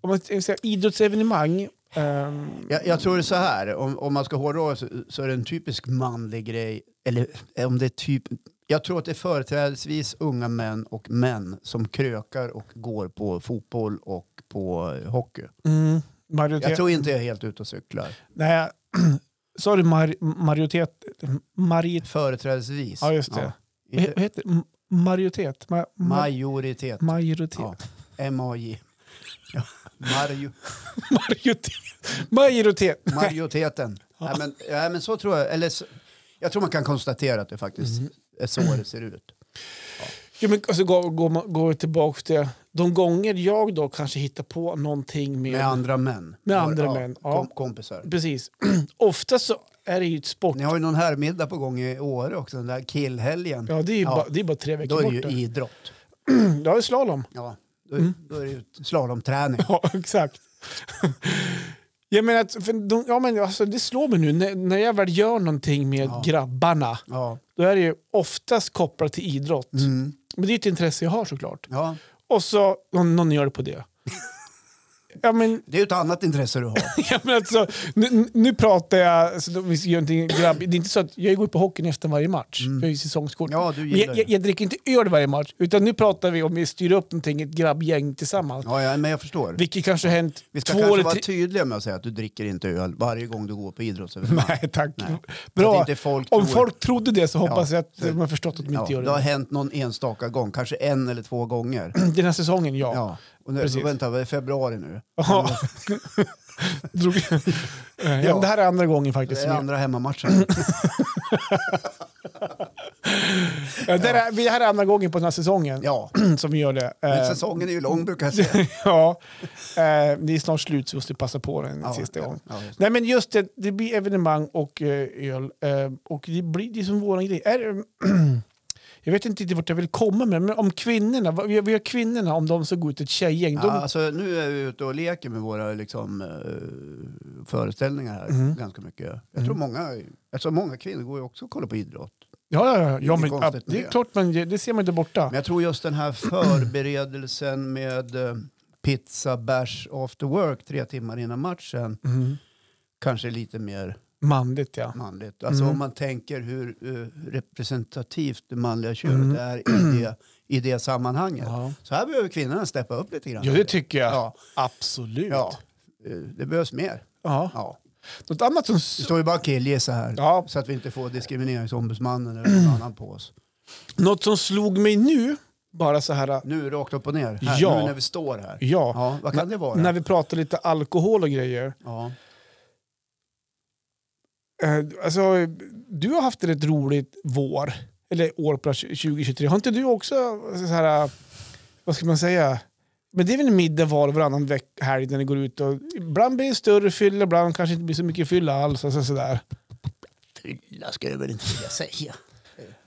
[SPEAKER 2] Om man ska säga idrottsevenemang. ehm,
[SPEAKER 1] jag, jag tror det är så här, om, om man ska hårdra så, så är det en typisk manlig grej. Eller om det är typ... Jag tror att det är företrädesvis unga män och män som krökar och går på fotboll och på hockey.
[SPEAKER 2] mm,
[SPEAKER 1] Jag
[SPEAKER 2] majoritet-
[SPEAKER 1] tror inte jag är helt ute och cyklar.
[SPEAKER 2] Nej, sa du mar, majoritet? Mariet,
[SPEAKER 1] Företrädesvis.
[SPEAKER 2] ja, just det.
[SPEAKER 1] Ja.
[SPEAKER 2] Vad
[SPEAKER 1] Inte-
[SPEAKER 2] heter det? M- Majoritet? Ma, ma,
[SPEAKER 1] Majoritet.
[SPEAKER 2] majoritet?
[SPEAKER 1] Ja. MAJ. Ja. Mario,
[SPEAKER 2] majoritet? Majoritet!
[SPEAKER 1] majoriteten. Nej, men, nej, men så tror jag. Eller, så- jag tror man kan konstatera att det faktiskt
[SPEAKER 2] Mm.
[SPEAKER 1] är så det ser ut.
[SPEAKER 2] Jo, men alltså, går, går, man- går jag tillbaka till de gånger jag då kanske hittar på någonting med...
[SPEAKER 1] Med andra män.
[SPEAKER 2] Med andra
[SPEAKER 1] Ja,
[SPEAKER 2] män, ja.
[SPEAKER 1] Kom, kompisar.
[SPEAKER 2] Precis. Ofta så är det ju ett sport.
[SPEAKER 1] Ni har ju någon herrmiddag på gång i Åre också, den där killhelgen.
[SPEAKER 2] Ja, det är ju
[SPEAKER 1] Ja.
[SPEAKER 2] Bara, det är bara tre veckor
[SPEAKER 1] då är det
[SPEAKER 2] bort.
[SPEAKER 1] ju
[SPEAKER 2] då.
[SPEAKER 1] idrott.
[SPEAKER 2] Ja, det är slalom.
[SPEAKER 1] Ja, då,
[SPEAKER 2] Mm.
[SPEAKER 1] då är det ju slalomträning.
[SPEAKER 2] Ja, exakt. Jag menar, att- för de, ja, men alltså, det slår mig nu, när, när jag väl gör någonting med
[SPEAKER 1] Ja.
[SPEAKER 2] grabbarna,
[SPEAKER 1] Ja.
[SPEAKER 2] då är det ju oftast kopplat till idrott.
[SPEAKER 1] Mm.
[SPEAKER 2] Men det är ett intresse jag har såklart.
[SPEAKER 1] ja,
[SPEAKER 2] Och så någon, någon gör det på det. Ja, men,
[SPEAKER 1] det är ju ett annat intresse du har.
[SPEAKER 2] ja, men alltså, nu, nu pratar jag, alltså, då- vi gör någonting grabb. det är inte så att jag går ju på hockey nästan varje match. Jag har ju säsongskort.
[SPEAKER 1] Mm. Ja, du
[SPEAKER 2] Men
[SPEAKER 1] gillar
[SPEAKER 2] jag, jag,
[SPEAKER 1] det.
[SPEAKER 2] jag dricker inte öl varje match, utan nu pratar vi om vi styr upp någonting, ett grabbgäng tillsammans.
[SPEAKER 1] Ja, ja, men jag förstår.
[SPEAKER 2] Vilket kanske har hänt
[SPEAKER 1] Vi ska
[SPEAKER 2] två
[SPEAKER 1] kanske
[SPEAKER 2] eller
[SPEAKER 1] vara
[SPEAKER 2] tre...
[SPEAKER 1] tydliga med att säga att du dricker inte öl varje gång du går på idrottsevenemang.
[SPEAKER 2] Nej tack.
[SPEAKER 1] Att
[SPEAKER 2] Bra.
[SPEAKER 1] inte folk
[SPEAKER 2] Om
[SPEAKER 1] tror-
[SPEAKER 2] folk trodde det så hoppas
[SPEAKER 1] Ja,
[SPEAKER 2] jag att
[SPEAKER 1] så-
[SPEAKER 2] de har förstått att de
[SPEAKER 1] Ja,
[SPEAKER 2] inte gör
[SPEAKER 1] det har
[SPEAKER 2] det.
[SPEAKER 1] hänt någon enstaka gång, kanske en eller två gånger.
[SPEAKER 2] Den här säsongen, ja.
[SPEAKER 1] Ja. Och nu,
[SPEAKER 2] Precis.
[SPEAKER 1] vänta, det är februari nu.
[SPEAKER 2] Ja. Drog... ja. men Det här är andra gången
[SPEAKER 1] Det
[SPEAKER 2] faktiskt.
[SPEAKER 1] är
[SPEAKER 2] som jag-
[SPEAKER 1] andra hemmamatchen.
[SPEAKER 2] Ja, det, här är, det här är andra gången på den här säsongen
[SPEAKER 1] Ja,
[SPEAKER 2] som vi gör det.
[SPEAKER 1] men
[SPEAKER 2] Eh,
[SPEAKER 1] säsongen är ju lång brukar jag säga.
[SPEAKER 2] ja, eh, det är snart slut så vi måste passa på den
[SPEAKER 1] Ja,
[SPEAKER 2] sista gången.
[SPEAKER 1] ja, just det.
[SPEAKER 2] Nej men just det, det blir evenemang och eh, öl eh, och det blir det är som våran grej. Är, det- jag vet inte riktigt vart jag vill komma med men om kvinnorna, vad- vi har, vi har kvinnorna, om de ska gå ut i ett tjejgäng.
[SPEAKER 1] Ja,
[SPEAKER 2] de,
[SPEAKER 1] alltså, nu är vi ute och leker med våra liksom, eh, föreställningar här
[SPEAKER 2] Mm.
[SPEAKER 1] ganska mycket. Jag tror många, alltså, många kvinnor går ju också och kollar på idrott.
[SPEAKER 2] ja, ja, ja, ja
[SPEAKER 1] Det är
[SPEAKER 2] men, ja,
[SPEAKER 1] konstigt med
[SPEAKER 2] det är
[SPEAKER 1] det.
[SPEAKER 2] klart men det, det ser man inte borta.
[SPEAKER 1] Men jag tror just den här förberedelsen med eh, pizza, bärs, after work tre timmar innan matchen
[SPEAKER 2] Mm.
[SPEAKER 1] kanske är lite mer
[SPEAKER 2] Manligt ja. Mm.
[SPEAKER 1] manligt. Alltså om man tänker hur eh, representativt det manliga könet är i det, i det sammanhanget.
[SPEAKER 2] Mm. Ja.
[SPEAKER 1] Så här behöver kvinnorna steppa upp lite grann.
[SPEAKER 2] ja, det tycker jag.
[SPEAKER 1] Ja.
[SPEAKER 2] Absolut.
[SPEAKER 1] Ja, eh, det behövs mer.
[SPEAKER 2] Ja.
[SPEAKER 1] Ja.
[SPEAKER 2] Något annat som...
[SPEAKER 1] Det står ju bara killgissa här.
[SPEAKER 2] Ja. Mm.
[SPEAKER 1] Så att vi inte får diskrimineringsombudsmannen eller någon annan på oss.
[SPEAKER 2] Något som slog mig nu, bara så här,
[SPEAKER 1] Nu rakt upp och ner. Här,
[SPEAKER 2] Ja.
[SPEAKER 1] Nu när vi står här.
[SPEAKER 2] ja,
[SPEAKER 1] Ja, vad kan det vara?
[SPEAKER 2] när vi pratar lite alkohol och grejer.
[SPEAKER 1] Ja.
[SPEAKER 2] Eh, alltså, du har haft ett rätt roligt vår, eller år på 2023. Har inte du också så här, eh, vad ska man säga, men det är väl en middag var och varannan veck- helg när ni går ut och ibland blir det större fylla, ibland kanske inte blir så mycket fylla alls. Alltså, sådär.
[SPEAKER 1] Fylla ska jag väl inte vilja säga.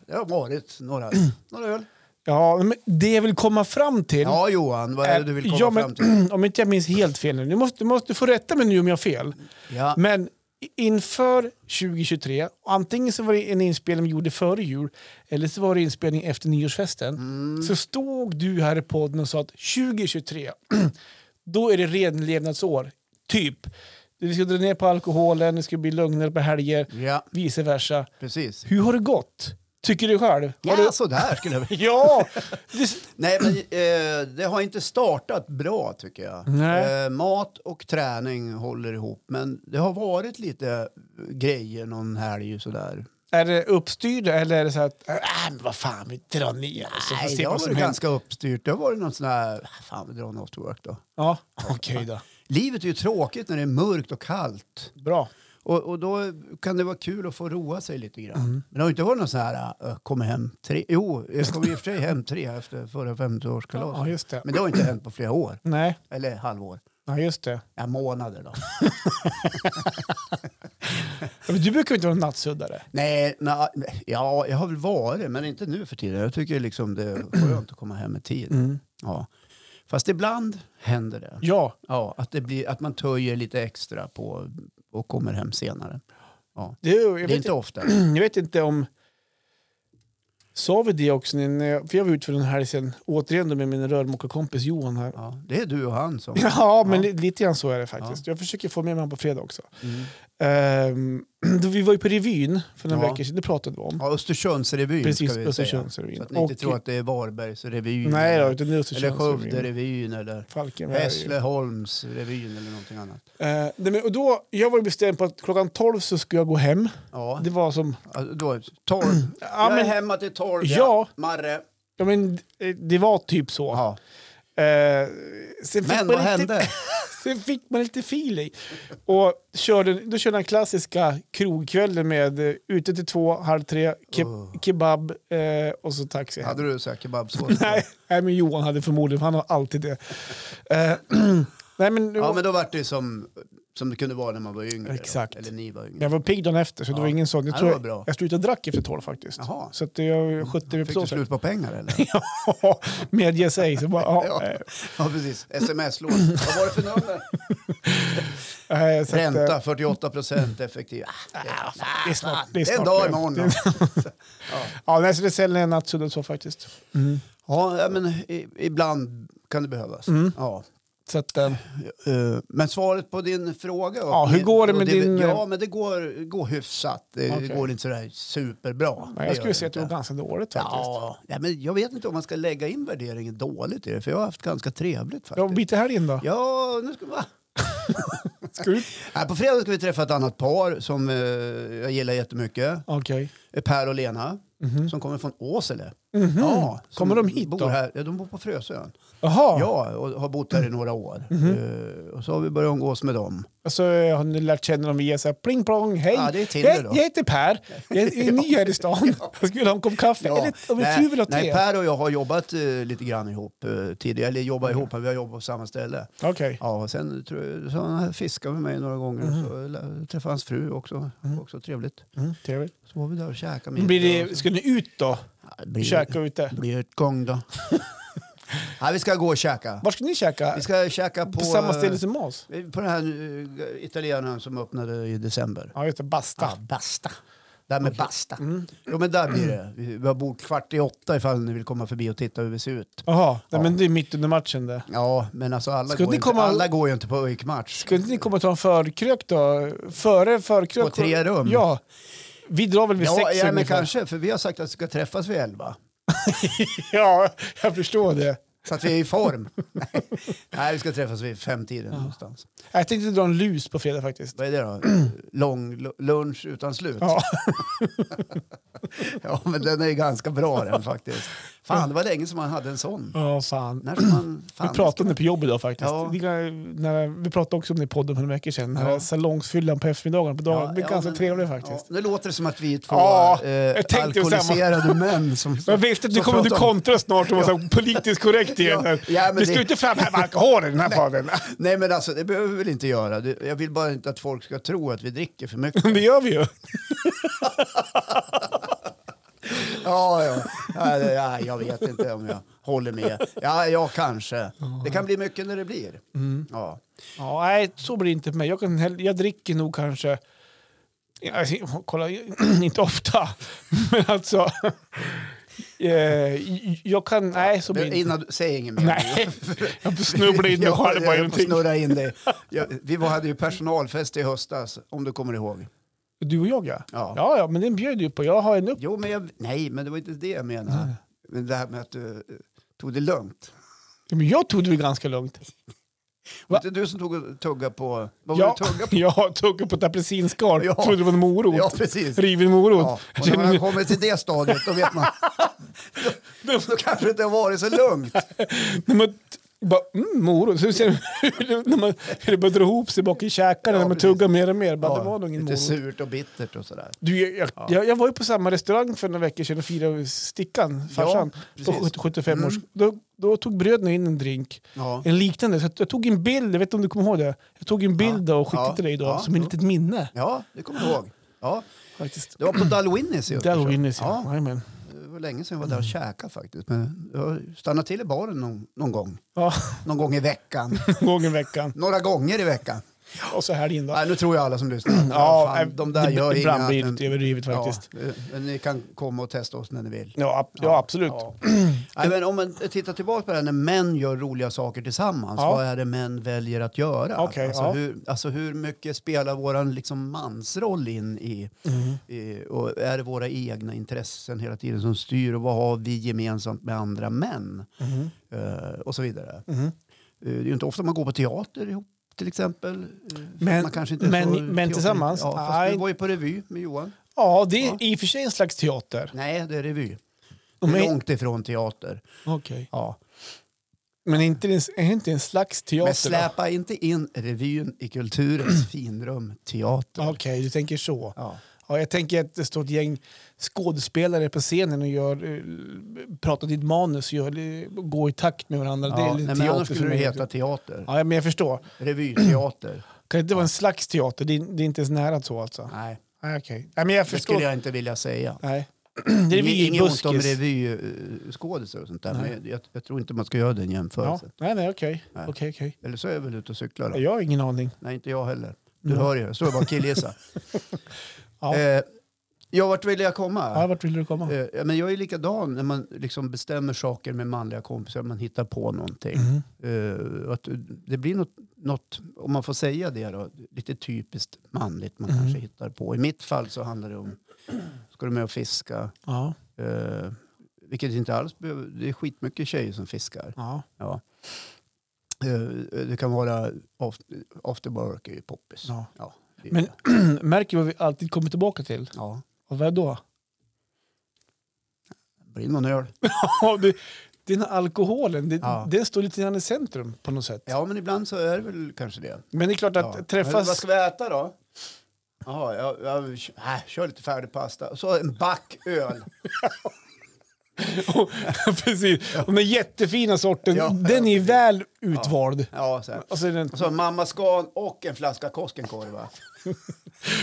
[SPEAKER 1] Det har varit några, några
[SPEAKER 2] Mm.
[SPEAKER 1] öl.
[SPEAKER 2] Ja, men det jag vill komma fram till,
[SPEAKER 1] Ja, Johan, vad är det du vill komma
[SPEAKER 2] ja, men,
[SPEAKER 1] fram till?
[SPEAKER 2] om inte jag minns helt fel nu, du måste, du måste få rätta mig nu om jag har fel.
[SPEAKER 1] Ja.
[SPEAKER 2] Men i- inför 2023, antingen så var det en inspelning vi gjorde före jul eller så var det inspelning efter nyårsfesten.
[SPEAKER 1] Mm.
[SPEAKER 2] Så stod du här i podden och sa att 2023, då är det renlevnadsår. Typ. Vi ska dra ner på alkoholen, det ska bli lugnare på helger,
[SPEAKER 1] ja,
[SPEAKER 2] vice versa.
[SPEAKER 1] precis.
[SPEAKER 2] Hur har det gått? Tycker du själv? Har
[SPEAKER 1] Ja, sådär skulle jag vilja.
[SPEAKER 2] Du... Ja! Det...
[SPEAKER 1] Nej, men eh, det har inte startat bra tycker jag.
[SPEAKER 2] Nej.
[SPEAKER 1] Eh, mat och träning håller ihop, men det har varit lite grejer någon helg sådär.
[SPEAKER 2] Är det uppstyrda eller är det så att, äh, men vad fan, vi drar ner. Så får vi
[SPEAKER 1] Nej,
[SPEAKER 2] se
[SPEAKER 1] det har
[SPEAKER 2] vad
[SPEAKER 1] varit
[SPEAKER 2] som händer.
[SPEAKER 1] ganska uppstyrt. Det har varit någon sån här, "Ah, fan vi drar en after work då.
[SPEAKER 2] Ja, okej då.
[SPEAKER 1] Livet är ju tråkigt när det är mörkt och kallt.
[SPEAKER 2] Bra.
[SPEAKER 1] Och, och då kan det vara kul att få roa sig lite grann.
[SPEAKER 2] Mm.
[SPEAKER 1] Men det har ju inte varit någon sån här, "Ö, kommer hem tre. Jo, jag kom i och för sig hem tre efter förra 50-årskalaset.
[SPEAKER 2] Ja, just det.
[SPEAKER 1] Men det har inte hänt på flera år.
[SPEAKER 2] Nej,
[SPEAKER 1] Eller halvår.
[SPEAKER 2] ja, just det.
[SPEAKER 1] Ja, månader då.
[SPEAKER 2] Ja, men Du brukar ju inte vara en nattsuddare.
[SPEAKER 1] Nej, na, ja, jag har väl varit, men inte nu för tiden. Jag tycker liksom det är skönt att komma hem i tid.
[SPEAKER 2] Mm.
[SPEAKER 1] Ja. Fast ibland händer det.
[SPEAKER 2] Ja,
[SPEAKER 1] Ja, att, det blir, att man töjer lite extra på och kommer hem senare. Ja.
[SPEAKER 2] det, är- jag, vet
[SPEAKER 1] Det är inte
[SPEAKER 2] inte.
[SPEAKER 1] ofta.
[SPEAKER 2] jag vet inte om... Sa vi det också? när jag- För jag var ute för den här sen, återigen då med min rörmokarkompis Johan här.
[SPEAKER 1] Ja, det är du och han som...
[SPEAKER 2] Ja, men li- lite grann så är det faktiskt. Jag försöker få med mig honom på fredag också.
[SPEAKER 1] Mm.
[SPEAKER 2] Ehm, då vi var ju på revyn för några
[SPEAKER 1] Ja.
[SPEAKER 2] veckor sedan, det pratade vi om.
[SPEAKER 1] Ja, Östersundsrevyn
[SPEAKER 2] Precis,
[SPEAKER 1] ska vi
[SPEAKER 2] Östersundsrevyn.
[SPEAKER 1] säga. Så att ni inte
[SPEAKER 2] Och-
[SPEAKER 1] tror att det är Varbergsrevyn.
[SPEAKER 2] Nej då,
[SPEAKER 1] eller-
[SPEAKER 2] utan det är
[SPEAKER 1] eller
[SPEAKER 2] Östersundsrevyn.
[SPEAKER 1] Skövderevyn eller
[SPEAKER 2] Falkenberg.
[SPEAKER 1] Hässleholmsrevyn eller någonting annat.
[SPEAKER 2] Eh, nej, men- och då, jag var ju bestämd på att klockan 12 så skulle jag gå hem.
[SPEAKER 1] Ja,
[SPEAKER 2] Det var som
[SPEAKER 1] alltså, då, torv.
[SPEAKER 2] Ja,
[SPEAKER 1] Jag är
[SPEAKER 2] men-
[SPEAKER 1] hemma till torv.
[SPEAKER 2] Ja.
[SPEAKER 1] Marre.
[SPEAKER 2] Ja, men eh, det var typ så.
[SPEAKER 1] Ja.
[SPEAKER 2] Eh, sen, fick
[SPEAKER 1] Men
[SPEAKER 2] man
[SPEAKER 1] vad
[SPEAKER 2] lite,
[SPEAKER 1] hände?
[SPEAKER 2] sen fick man lite feeling. Och körde, då körde han klassiska krogkvällen med eh, ute till två, halv tre, ke kebab eh, och så taxi. hem.
[SPEAKER 1] Oh. Hade du så här kebabsås?
[SPEAKER 2] Nej, nej, men Johan hade förmodligen, för han har alltid det. Eh, Nej, men,
[SPEAKER 1] Ja, men då vart det ju som, som det kunde vara när man var yngre. då.
[SPEAKER 2] Exakt.
[SPEAKER 1] Eller ni var yngre.
[SPEAKER 2] Jag var pigg dagen efter, så det
[SPEAKER 1] Ja.
[SPEAKER 2] var ingen sån. Jag,
[SPEAKER 1] Ja,
[SPEAKER 2] tror
[SPEAKER 1] det var bra.
[SPEAKER 2] jag, jag slutade drack efter 12 faktiskt.
[SPEAKER 1] Jaha. Mm,
[SPEAKER 2] Så att jag skötte mig på
[SPEAKER 1] Fick
[SPEAKER 2] så
[SPEAKER 1] du
[SPEAKER 2] sätt.
[SPEAKER 1] slut på pengar eller?
[SPEAKER 2] Ja, medge sig. Så bara, ja,
[SPEAKER 1] ja. ja, precis. Sms-lån. Vad var det för nummer?
[SPEAKER 2] eh, eh, så att, eh, alltså,
[SPEAKER 1] Ränta 48 procent effektiv. Ah,
[SPEAKER 2] Det är snart. Det är
[SPEAKER 1] det är en
[SPEAKER 2] snart
[SPEAKER 1] dag
[SPEAKER 2] lugnt.
[SPEAKER 1] imorgon.
[SPEAKER 2] Det är- Ja, nej, så det säljer en nattsudden så faktiskt.
[SPEAKER 1] Ja, ja, men i, ibland kan det behövas.
[SPEAKER 2] Mm.
[SPEAKER 1] Ja.
[SPEAKER 2] Så att, eh,
[SPEAKER 1] Eh, Men svaret på din fråga?
[SPEAKER 2] Ja, hur går det med
[SPEAKER 1] och
[SPEAKER 2] din- eh,
[SPEAKER 1] Ja, men det går, går hyfsat. Det
[SPEAKER 2] Okej.
[SPEAKER 1] går inte sådär superbra.
[SPEAKER 2] nej,
[SPEAKER 1] Det
[SPEAKER 2] jag skulle
[SPEAKER 1] gör
[SPEAKER 2] säga att det
[SPEAKER 1] inte.
[SPEAKER 2] var ganska dåligt faktiskt.
[SPEAKER 1] Ja, ja, men jag vet inte om man ska lägga in värderingen dåligt i det, för jag har haft ganska trevligt
[SPEAKER 2] Ja,
[SPEAKER 1] faktiskt.
[SPEAKER 2] bit här in då.
[SPEAKER 1] Ja, nu ska, va?
[SPEAKER 2] Ska du?
[SPEAKER 1] Nej, på fredag ska vi träffa ett annat par som eh, jag gillar jättemycket. Eh,
[SPEAKER 2] Okej.
[SPEAKER 1] Per och Lena, som kommer från Åsele. Ja, som
[SPEAKER 2] Mhm. Kommer de hit
[SPEAKER 1] bor
[SPEAKER 2] då?
[SPEAKER 1] Här, ja, de bor på Frösön.
[SPEAKER 2] Jaha,
[SPEAKER 1] Ja, och har bott
[SPEAKER 2] Mm.
[SPEAKER 1] här i några år.
[SPEAKER 2] Mhm.
[SPEAKER 1] Eh, och så har vi börjat umgås med dem.
[SPEAKER 2] alltså, har ni lärt känna dem via så här pling plong, hej.
[SPEAKER 1] Ja, det är Tinder
[SPEAKER 2] jag,
[SPEAKER 1] då.
[SPEAKER 2] jag heter Per, jag är ny här i stan. Jag skulle ha en kopp kaffe, eller om ett
[SPEAKER 1] nej,
[SPEAKER 2] du vill ha
[SPEAKER 1] nej,
[SPEAKER 2] te.
[SPEAKER 1] Per och jag har jobbat eh, lite grann ihop eh, tidigare. Eller jobbat
[SPEAKER 2] Mhm.
[SPEAKER 1] ihop, men vi har jobbat på samma ställe.
[SPEAKER 2] Okej,
[SPEAKER 1] Ja, och sen tror jag, så han har fiskat med mig några gånger. Så
[SPEAKER 2] Mhm.
[SPEAKER 1] lä- träffade hans fru också. Också trevligt.
[SPEAKER 2] mm, trevligt.
[SPEAKER 1] Så var vi där och käkade middag.
[SPEAKER 2] Men Blir
[SPEAKER 1] och så-
[SPEAKER 2] det, ska ni ut då?
[SPEAKER 1] Ja, det blir-
[SPEAKER 2] Käka ute?
[SPEAKER 1] det blir ett gång då. nej, vi ska gå och käka.
[SPEAKER 2] Var ska ni käka?
[SPEAKER 1] Vi ska käka på,
[SPEAKER 2] På samma ställe som oss?
[SPEAKER 1] eh, på den här eh, italienaren som öppnade i december.
[SPEAKER 2] Ja, just det,
[SPEAKER 1] Ah,
[SPEAKER 2] basta.
[SPEAKER 1] basta. Där med basta. Jo men där blir det. Vi vi har bord kvart i åtta ifall ni vill komma förbi och titta hur vi ser ut.
[SPEAKER 2] Jaha, nej, men det är mitt under matchen det.
[SPEAKER 1] Ja men alltså alla,
[SPEAKER 2] Ska
[SPEAKER 1] går,
[SPEAKER 2] ni
[SPEAKER 1] inte,
[SPEAKER 2] komma-
[SPEAKER 1] alla går ju inte på ÖIK-match.
[SPEAKER 2] Skulle inte ni komma och ta en förkrök då? Före förkrök?
[SPEAKER 1] På tre rum?
[SPEAKER 2] Ja. Vi drar väl vid
[SPEAKER 1] Ja,
[SPEAKER 2] sex
[SPEAKER 1] ja men
[SPEAKER 2] ungefär.
[SPEAKER 1] kanske för vi har sagt att vi ska träffas vid elva.
[SPEAKER 2] Ja, jag förstår det.
[SPEAKER 1] Så att vi är i form. Nej. Nej vi ska träffas vid femtiden någonstans.
[SPEAKER 2] Jag tänkte dra en lus på fredag faktiskt.
[SPEAKER 1] Vad är det då? Lång lu- lunch utan slut? Ja.
[SPEAKER 2] Ja,
[SPEAKER 1] men den är ju ganska bra den faktiskt. Fan det var länge som man hade en sån.
[SPEAKER 2] oh, fan.
[SPEAKER 1] När ska man...
[SPEAKER 2] Vi
[SPEAKER 1] Fan,
[SPEAKER 2] pratade om det på jobbet idag faktiskt.
[SPEAKER 1] Ja.
[SPEAKER 2] Det är- När, vi pratade också om det i podden för några veckor sedan. Den här
[SPEAKER 1] Ja.
[SPEAKER 2] Salongsfyllan på eftermiddagen på dagen.
[SPEAKER 1] Ja,
[SPEAKER 2] det är
[SPEAKER 1] ja,
[SPEAKER 2] ganska
[SPEAKER 1] men-
[SPEAKER 2] trevligt faktiskt.
[SPEAKER 1] Ja, nu låter det som att vi är två
[SPEAKER 2] Ja,
[SPEAKER 1] eh,
[SPEAKER 2] jag tänkte ju samma.
[SPEAKER 1] alkoholiserade män som...
[SPEAKER 2] Men jag visste att
[SPEAKER 1] som
[SPEAKER 2] du kommer du
[SPEAKER 1] pratar om-
[SPEAKER 2] kontra snart och vara så politiskt korrekt igen.
[SPEAKER 1] Ja, ja, men
[SPEAKER 2] du ska
[SPEAKER 1] det-
[SPEAKER 2] ju inte framhäva alkohol i den här podden.
[SPEAKER 1] Nej men alltså det behöver vi väl inte göra. Det- Jag vill bara inte att folk ska tro att vi dricker för mycket.
[SPEAKER 2] Det gör vi ju.
[SPEAKER 1] Ja, ja. Ja, det- ja, jag vet inte om jag håller med. Ja, ja kanske. Det kan bli mycket när det blir.
[SPEAKER 2] Mm.
[SPEAKER 1] Ja.
[SPEAKER 2] Ja, nej, så blir det inte för mig. Jag, kan, hell- jag dricker nog kanske... Alltså, kolla, inte ofta. Men alltså... eh, jag kan... Nej, så blir det inte.
[SPEAKER 1] Innan, du- säg inget mer.
[SPEAKER 2] Nej, jag får snubbla in mig
[SPEAKER 1] Jag-
[SPEAKER 2] själv på
[SPEAKER 1] jag får
[SPEAKER 2] någonting.
[SPEAKER 1] snurra in dig. Jag, vi var, hade ju personalfest i höstas, om du kommer ihåg.
[SPEAKER 2] Du och jag ja.
[SPEAKER 1] Ja.
[SPEAKER 2] Ja, ja, men den bjöd du på. Jag har en upp...
[SPEAKER 1] Jo, men jag, nej, men det var inte det jag menade. Men det här med att du eh, tog det lugnt.
[SPEAKER 2] Men jag tog det väl ganska lugnt. Va?
[SPEAKER 1] Var det inte du som tog och tugga på... Vad var
[SPEAKER 2] Jag,
[SPEAKER 1] du tugga på?
[SPEAKER 2] jag tuggade på ett apelsinskal.
[SPEAKER 1] Ja.
[SPEAKER 2] Trodde det var en morot.
[SPEAKER 1] Ja, precis.
[SPEAKER 2] Riven morot.
[SPEAKER 1] Ja, och när man kommer till det stadiet, då vet man... då, då kanske det inte har varit så lugnt.
[SPEAKER 2] När man t- bara, mm, morot. Så ser man hur, när man, hur det börjar dra ihop sig bak i käkarna
[SPEAKER 1] Ja,
[SPEAKER 2] när man
[SPEAKER 1] precis.
[SPEAKER 2] tuggar mer och mer. Bara, det var nog ingen
[SPEAKER 1] lite
[SPEAKER 2] morot.
[SPEAKER 1] surt och bittert och sådär.
[SPEAKER 2] Du, jag, jag, jag, jag var ju på samma restaurang för några veckor sedan och firade Stickan, farsan, på
[SPEAKER 1] precis. Mm.
[SPEAKER 2] 75 års... Då, då tog bröderna in en drink,
[SPEAKER 1] Ja.
[SPEAKER 2] en liknande. Så att jag tog en bild, jag vet inte om du kommer ihåg det? Jag tog en bild och skickade
[SPEAKER 1] Ja.
[SPEAKER 2] till dig idag
[SPEAKER 1] Ja.
[SPEAKER 2] som ett litet minne.
[SPEAKER 1] ja, det kommer jag ihåg. Ja,
[SPEAKER 2] Faktiskt.
[SPEAKER 1] det var på Dalwhinnies i Östersund.
[SPEAKER 2] Dalwhinnies, ja.
[SPEAKER 1] ja.
[SPEAKER 2] Jajamän.
[SPEAKER 1] Det var länge sedan jag var där och käkade faktiskt. Men jag stannade till i baren någon, någon gång.
[SPEAKER 2] Ja,
[SPEAKER 1] Någon gång i veckan.
[SPEAKER 2] en gång i veckan.
[SPEAKER 1] Några gånger i veckan.
[SPEAKER 2] Och så helgen då.
[SPEAKER 1] Nej, nu tror jag alla som lyssnar.
[SPEAKER 2] Ja,
[SPEAKER 1] Ja, fan, de där
[SPEAKER 2] det-
[SPEAKER 1] gör
[SPEAKER 2] ibland
[SPEAKER 1] inga-
[SPEAKER 2] blir det lite överdrivet faktiskt.
[SPEAKER 1] Ja, men ni kan komma och testa oss när ni vill.
[SPEAKER 2] Ja, ab- ja absolut.
[SPEAKER 1] Ja. Nej, men om man tittar tillbaka på det här när män gör roliga saker tillsammans,
[SPEAKER 2] Ja.
[SPEAKER 1] vad är det män väljer att göra?
[SPEAKER 2] Okej,
[SPEAKER 1] alltså,
[SPEAKER 2] ja.
[SPEAKER 1] hur, alltså hur mycket spelar våran liksom, mansroll in i,
[SPEAKER 2] Mm-hmm.
[SPEAKER 1] i, och är det våra egna intressen hela tiden som styr och vad har vi gemensamt med andra män?
[SPEAKER 2] Mm-hmm.
[SPEAKER 1] Eh, och så vidare. Eh, det är ju inte ofta man går på teater ihop till exempel. Eh, för
[SPEAKER 2] Men-
[SPEAKER 1] man kanske inte är
[SPEAKER 2] men-
[SPEAKER 1] så
[SPEAKER 2] men
[SPEAKER 1] teater-
[SPEAKER 2] tillsammans?
[SPEAKER 1] Ja, fast
[SPEAKER 2] Nej.
[SPEAKER 1] du var ju på revy med Johan.
[SPEAKER 2] Ja, det är
[SPEAKER 1] Ja.
[SPEAKER 2] i och för sig en slags teater.
[SPEAKER 1] Nej, det är revy. Det
[SPEAKER 2] Och
[SPEAKER 1] är
[SPEAKER 2] men-
[SPEAKER 1] långt ifrån teater.
[SPEAKER 2] Okej.
[SPEAKER 1] Ja.
[SPEAKER 2] Men inte en, är inte en slags teater?
[SPEAKER 1] Men
[SPEAKER 2] då?
[SPEAKER 1] släpa inte in revyn i kulturens finrum teater.
[SPEAKER 2] Okej, du tänker så.
[SPEAKER 1] Ja.
[SPEAKER 2] Ja, Ja, jag tänker att det står ett gäng skådespelare på scenen och gör, eh, pratar ditt manus och gör, eh, går i takt med varandra.
[SPEAKER 1] Ja,
[SPEAKER 2] det är
[SPEAKER 1] nej,
[SPEAKER 2] lite
[SPEAKER 1] men
[SPEAKER 2] teater
[SPEAKER 1] annars
[SPEAKER 2] som
[SPEAKER 1] skulle det
[SPEAKER 2] är-
[SPEAKER 1] heta teater.
[SPEAKER 2] Ja, men jag förstår.
[SPEAKER 1] Revyteater.
[SPEAKER 2] Kan det inte vara en slags teater? Det är, det är inte ens nära så alltså?
[SPEAKER 1] Nej,
[SPEAKER 2] Nej, okej. Nej, men jag
[SPEAKER 1] det skulle
[SPEAKER 2] förstår.
[SPEAKER 1] jag inte vilja säga.
[SPEAKER 2] Nej.
[SPEAKER 1] Det
[SPEAKER 2] Det
[SPEAKER 1] är
[SPEAKER 2] är
[SPEAKER 1] Inget ont om
[SPEAKER 2] revybuskis.
[SPEAKER 1] revyskådisar och sånt där,
[SPEAKER 2] Nej.
[SPEAKER 1] men jag, jag tror inte man ska göra den
[SPEAKER 2] Ja.
[SPEAKER 1] jämförelsen.
[SPEAKER 2] Nej, nej, okej.
[SPEAKER 1] Nej.
[SPEAKER 2] Okej, okej.
[SPEAKER 1] Eller så är jag väl ute och cyklar då.
[SPEAKER 2] Jag har ingen aning.
[SPEAKER 1] Nej, inte jag heller. Du
[SPEAKER 2] Nej.
[SPEAKER 1] hör ju, jag står bara och killgissar.
[SPEAKER 2] Ja.
[SPEAKER 1] eh, ja, vart ville jag
[SPEAKER 2] Ja,
[SPEAKER 1] komma?
[SPEAKER 2] vart vill du komma?
[SPEAKER 1] Eh, ja, men jag är likadan när man liksom bestämmer saker med manliga kompisar, man hittar på någonting.
[SPEAKER 2] Mhm.
[SPEAKER 1] Eh, att det blir något, något, om man får säga det då, lite typiskt manligt man
[SPEAKER 2] Mhm.
[SPEAKER 1] kanske hittar på. I mitt fall så handlar det om, ska du med och fiska?
[SPEAKER 2] Ja,
[SPEAKER 1] Eh, vilket inte alls behöver, det är skitmycket tjejer som fiskar.
[SPEAKER 2] ja.
[SPEAKER 1] Ja. Eh, det kan vara after, after work är ju poppis.
[SPEAKER 2] Ja.
[SPEAKER 1] det är
[SPEAKER 2] Men
[SPEAKER 1] det.
[SPEAKER 2] märker vad vi alltid kommer tillbaka till?
[SPEAKER 1] ja,
[SPEAKER 2] Och vad då?
[SPEAKER 1] det blir någon öl.
[SPEAKER 2] Ja, det, det är den här alkoholen, det,
[SPEAKER 1] Ja.
[SPEAKER 2] den står lite grann i centrum på något sätt.
[SPEAKER 1] Ja, men ibland så är det väl kanske det.
[SPEAKER 2] Men det är klart att
[SPEAKER 1] Ja. Men Vad
[SPEAKER 2] träffas...
[SPEAKER 1] ska vi äta då? Jaha, jag, jag, äh, kör lite färdigpasta. Och så en back öl.
[SPEAKER 2] Precis. Och den jättefina sorten,
[SPEAKER 1] Ja,
[SPEAKER 2] den är
[SPEAKER 1] ja,
[SPEAKER 2] ju väl utvald.
[SPEAKER 1] Ja, så här.
[SPEAKER 2] Och så är den,
[SPEAKER 1] Och så en mamma Scan och en flaska Koskenkorva.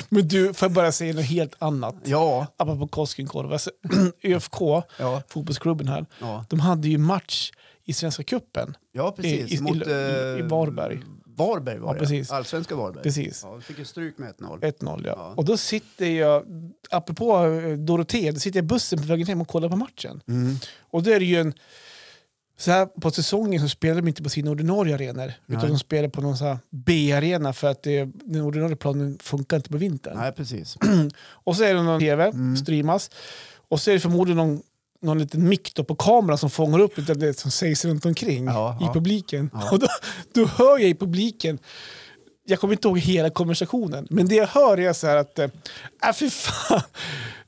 [SPEAKER 2] men du, får jag bara säga något helt annat?
[SPEAKER 1] Ja.
[SPEAKER 2] Apropå Koskenkorva, alltså, ÖFK,
[SPEAKER 1] Ja,
[SPEAKER 2] fotbollsklubben här,
[SPEAKER 1] ja.
[SPEAKER 2] de hade ju match i Svenska cupen.
[SPEAKER 1] ja precis.
[SPEAKER 2] I- i-
[SPEAKER 1] Mot, eh,
[SPEAKER 2] i- i Varberg.
[SPEAKER 1] Varberg var
[SPEAKER 2] Ja,
[SPEAKER 1] det.
[SPEAKER 2] precis.
[SPEAKER 1] Allsvenska Varberg.
[SPEAKER 2] Precis.
[SPEAKER 1] Ja, vi fick ju stryk med 1-0.
[SPEAKER 2] 1-0 ja.
[SPEAKER 1] Ja.
[SPEAKER 2] Och då sitter jag, apropå eh, Dorotea, då sitter jag i bussen på vägen hem och kollar på matchen.
[SPEAKER 1] Mm.
[SPEAKER 2] Och då är det ju en... Så här på säsongen så spelar de inte på sina ordinarie arenor.
[SPEAKER 1] Nej.
[SPEAKER 2] Utan de spelar på någon så här B-arena för att det, den ordinarie planen funkar inte på vintern.
[SPEAKER 1] Nej, Mm. precis.
[SPEAKER 2] Och så är det någon tv, streamas. Och så är det förmodligen någon, någon liten mick då på kameran som fångar upp lite av det som sägs runt omkring
[SPEAKER 1] Ja,
[SPEAKER 2] i
[SPEAKER 1] ja.
[SPEAKER 2] publiken.
[SPEAKER 1] Ja.
[SPEAKER 2] Och då, då hör jag i publiken, jag kommer inte ihåg hela konversationen, men det jag hör är så här att, äh, fy fan,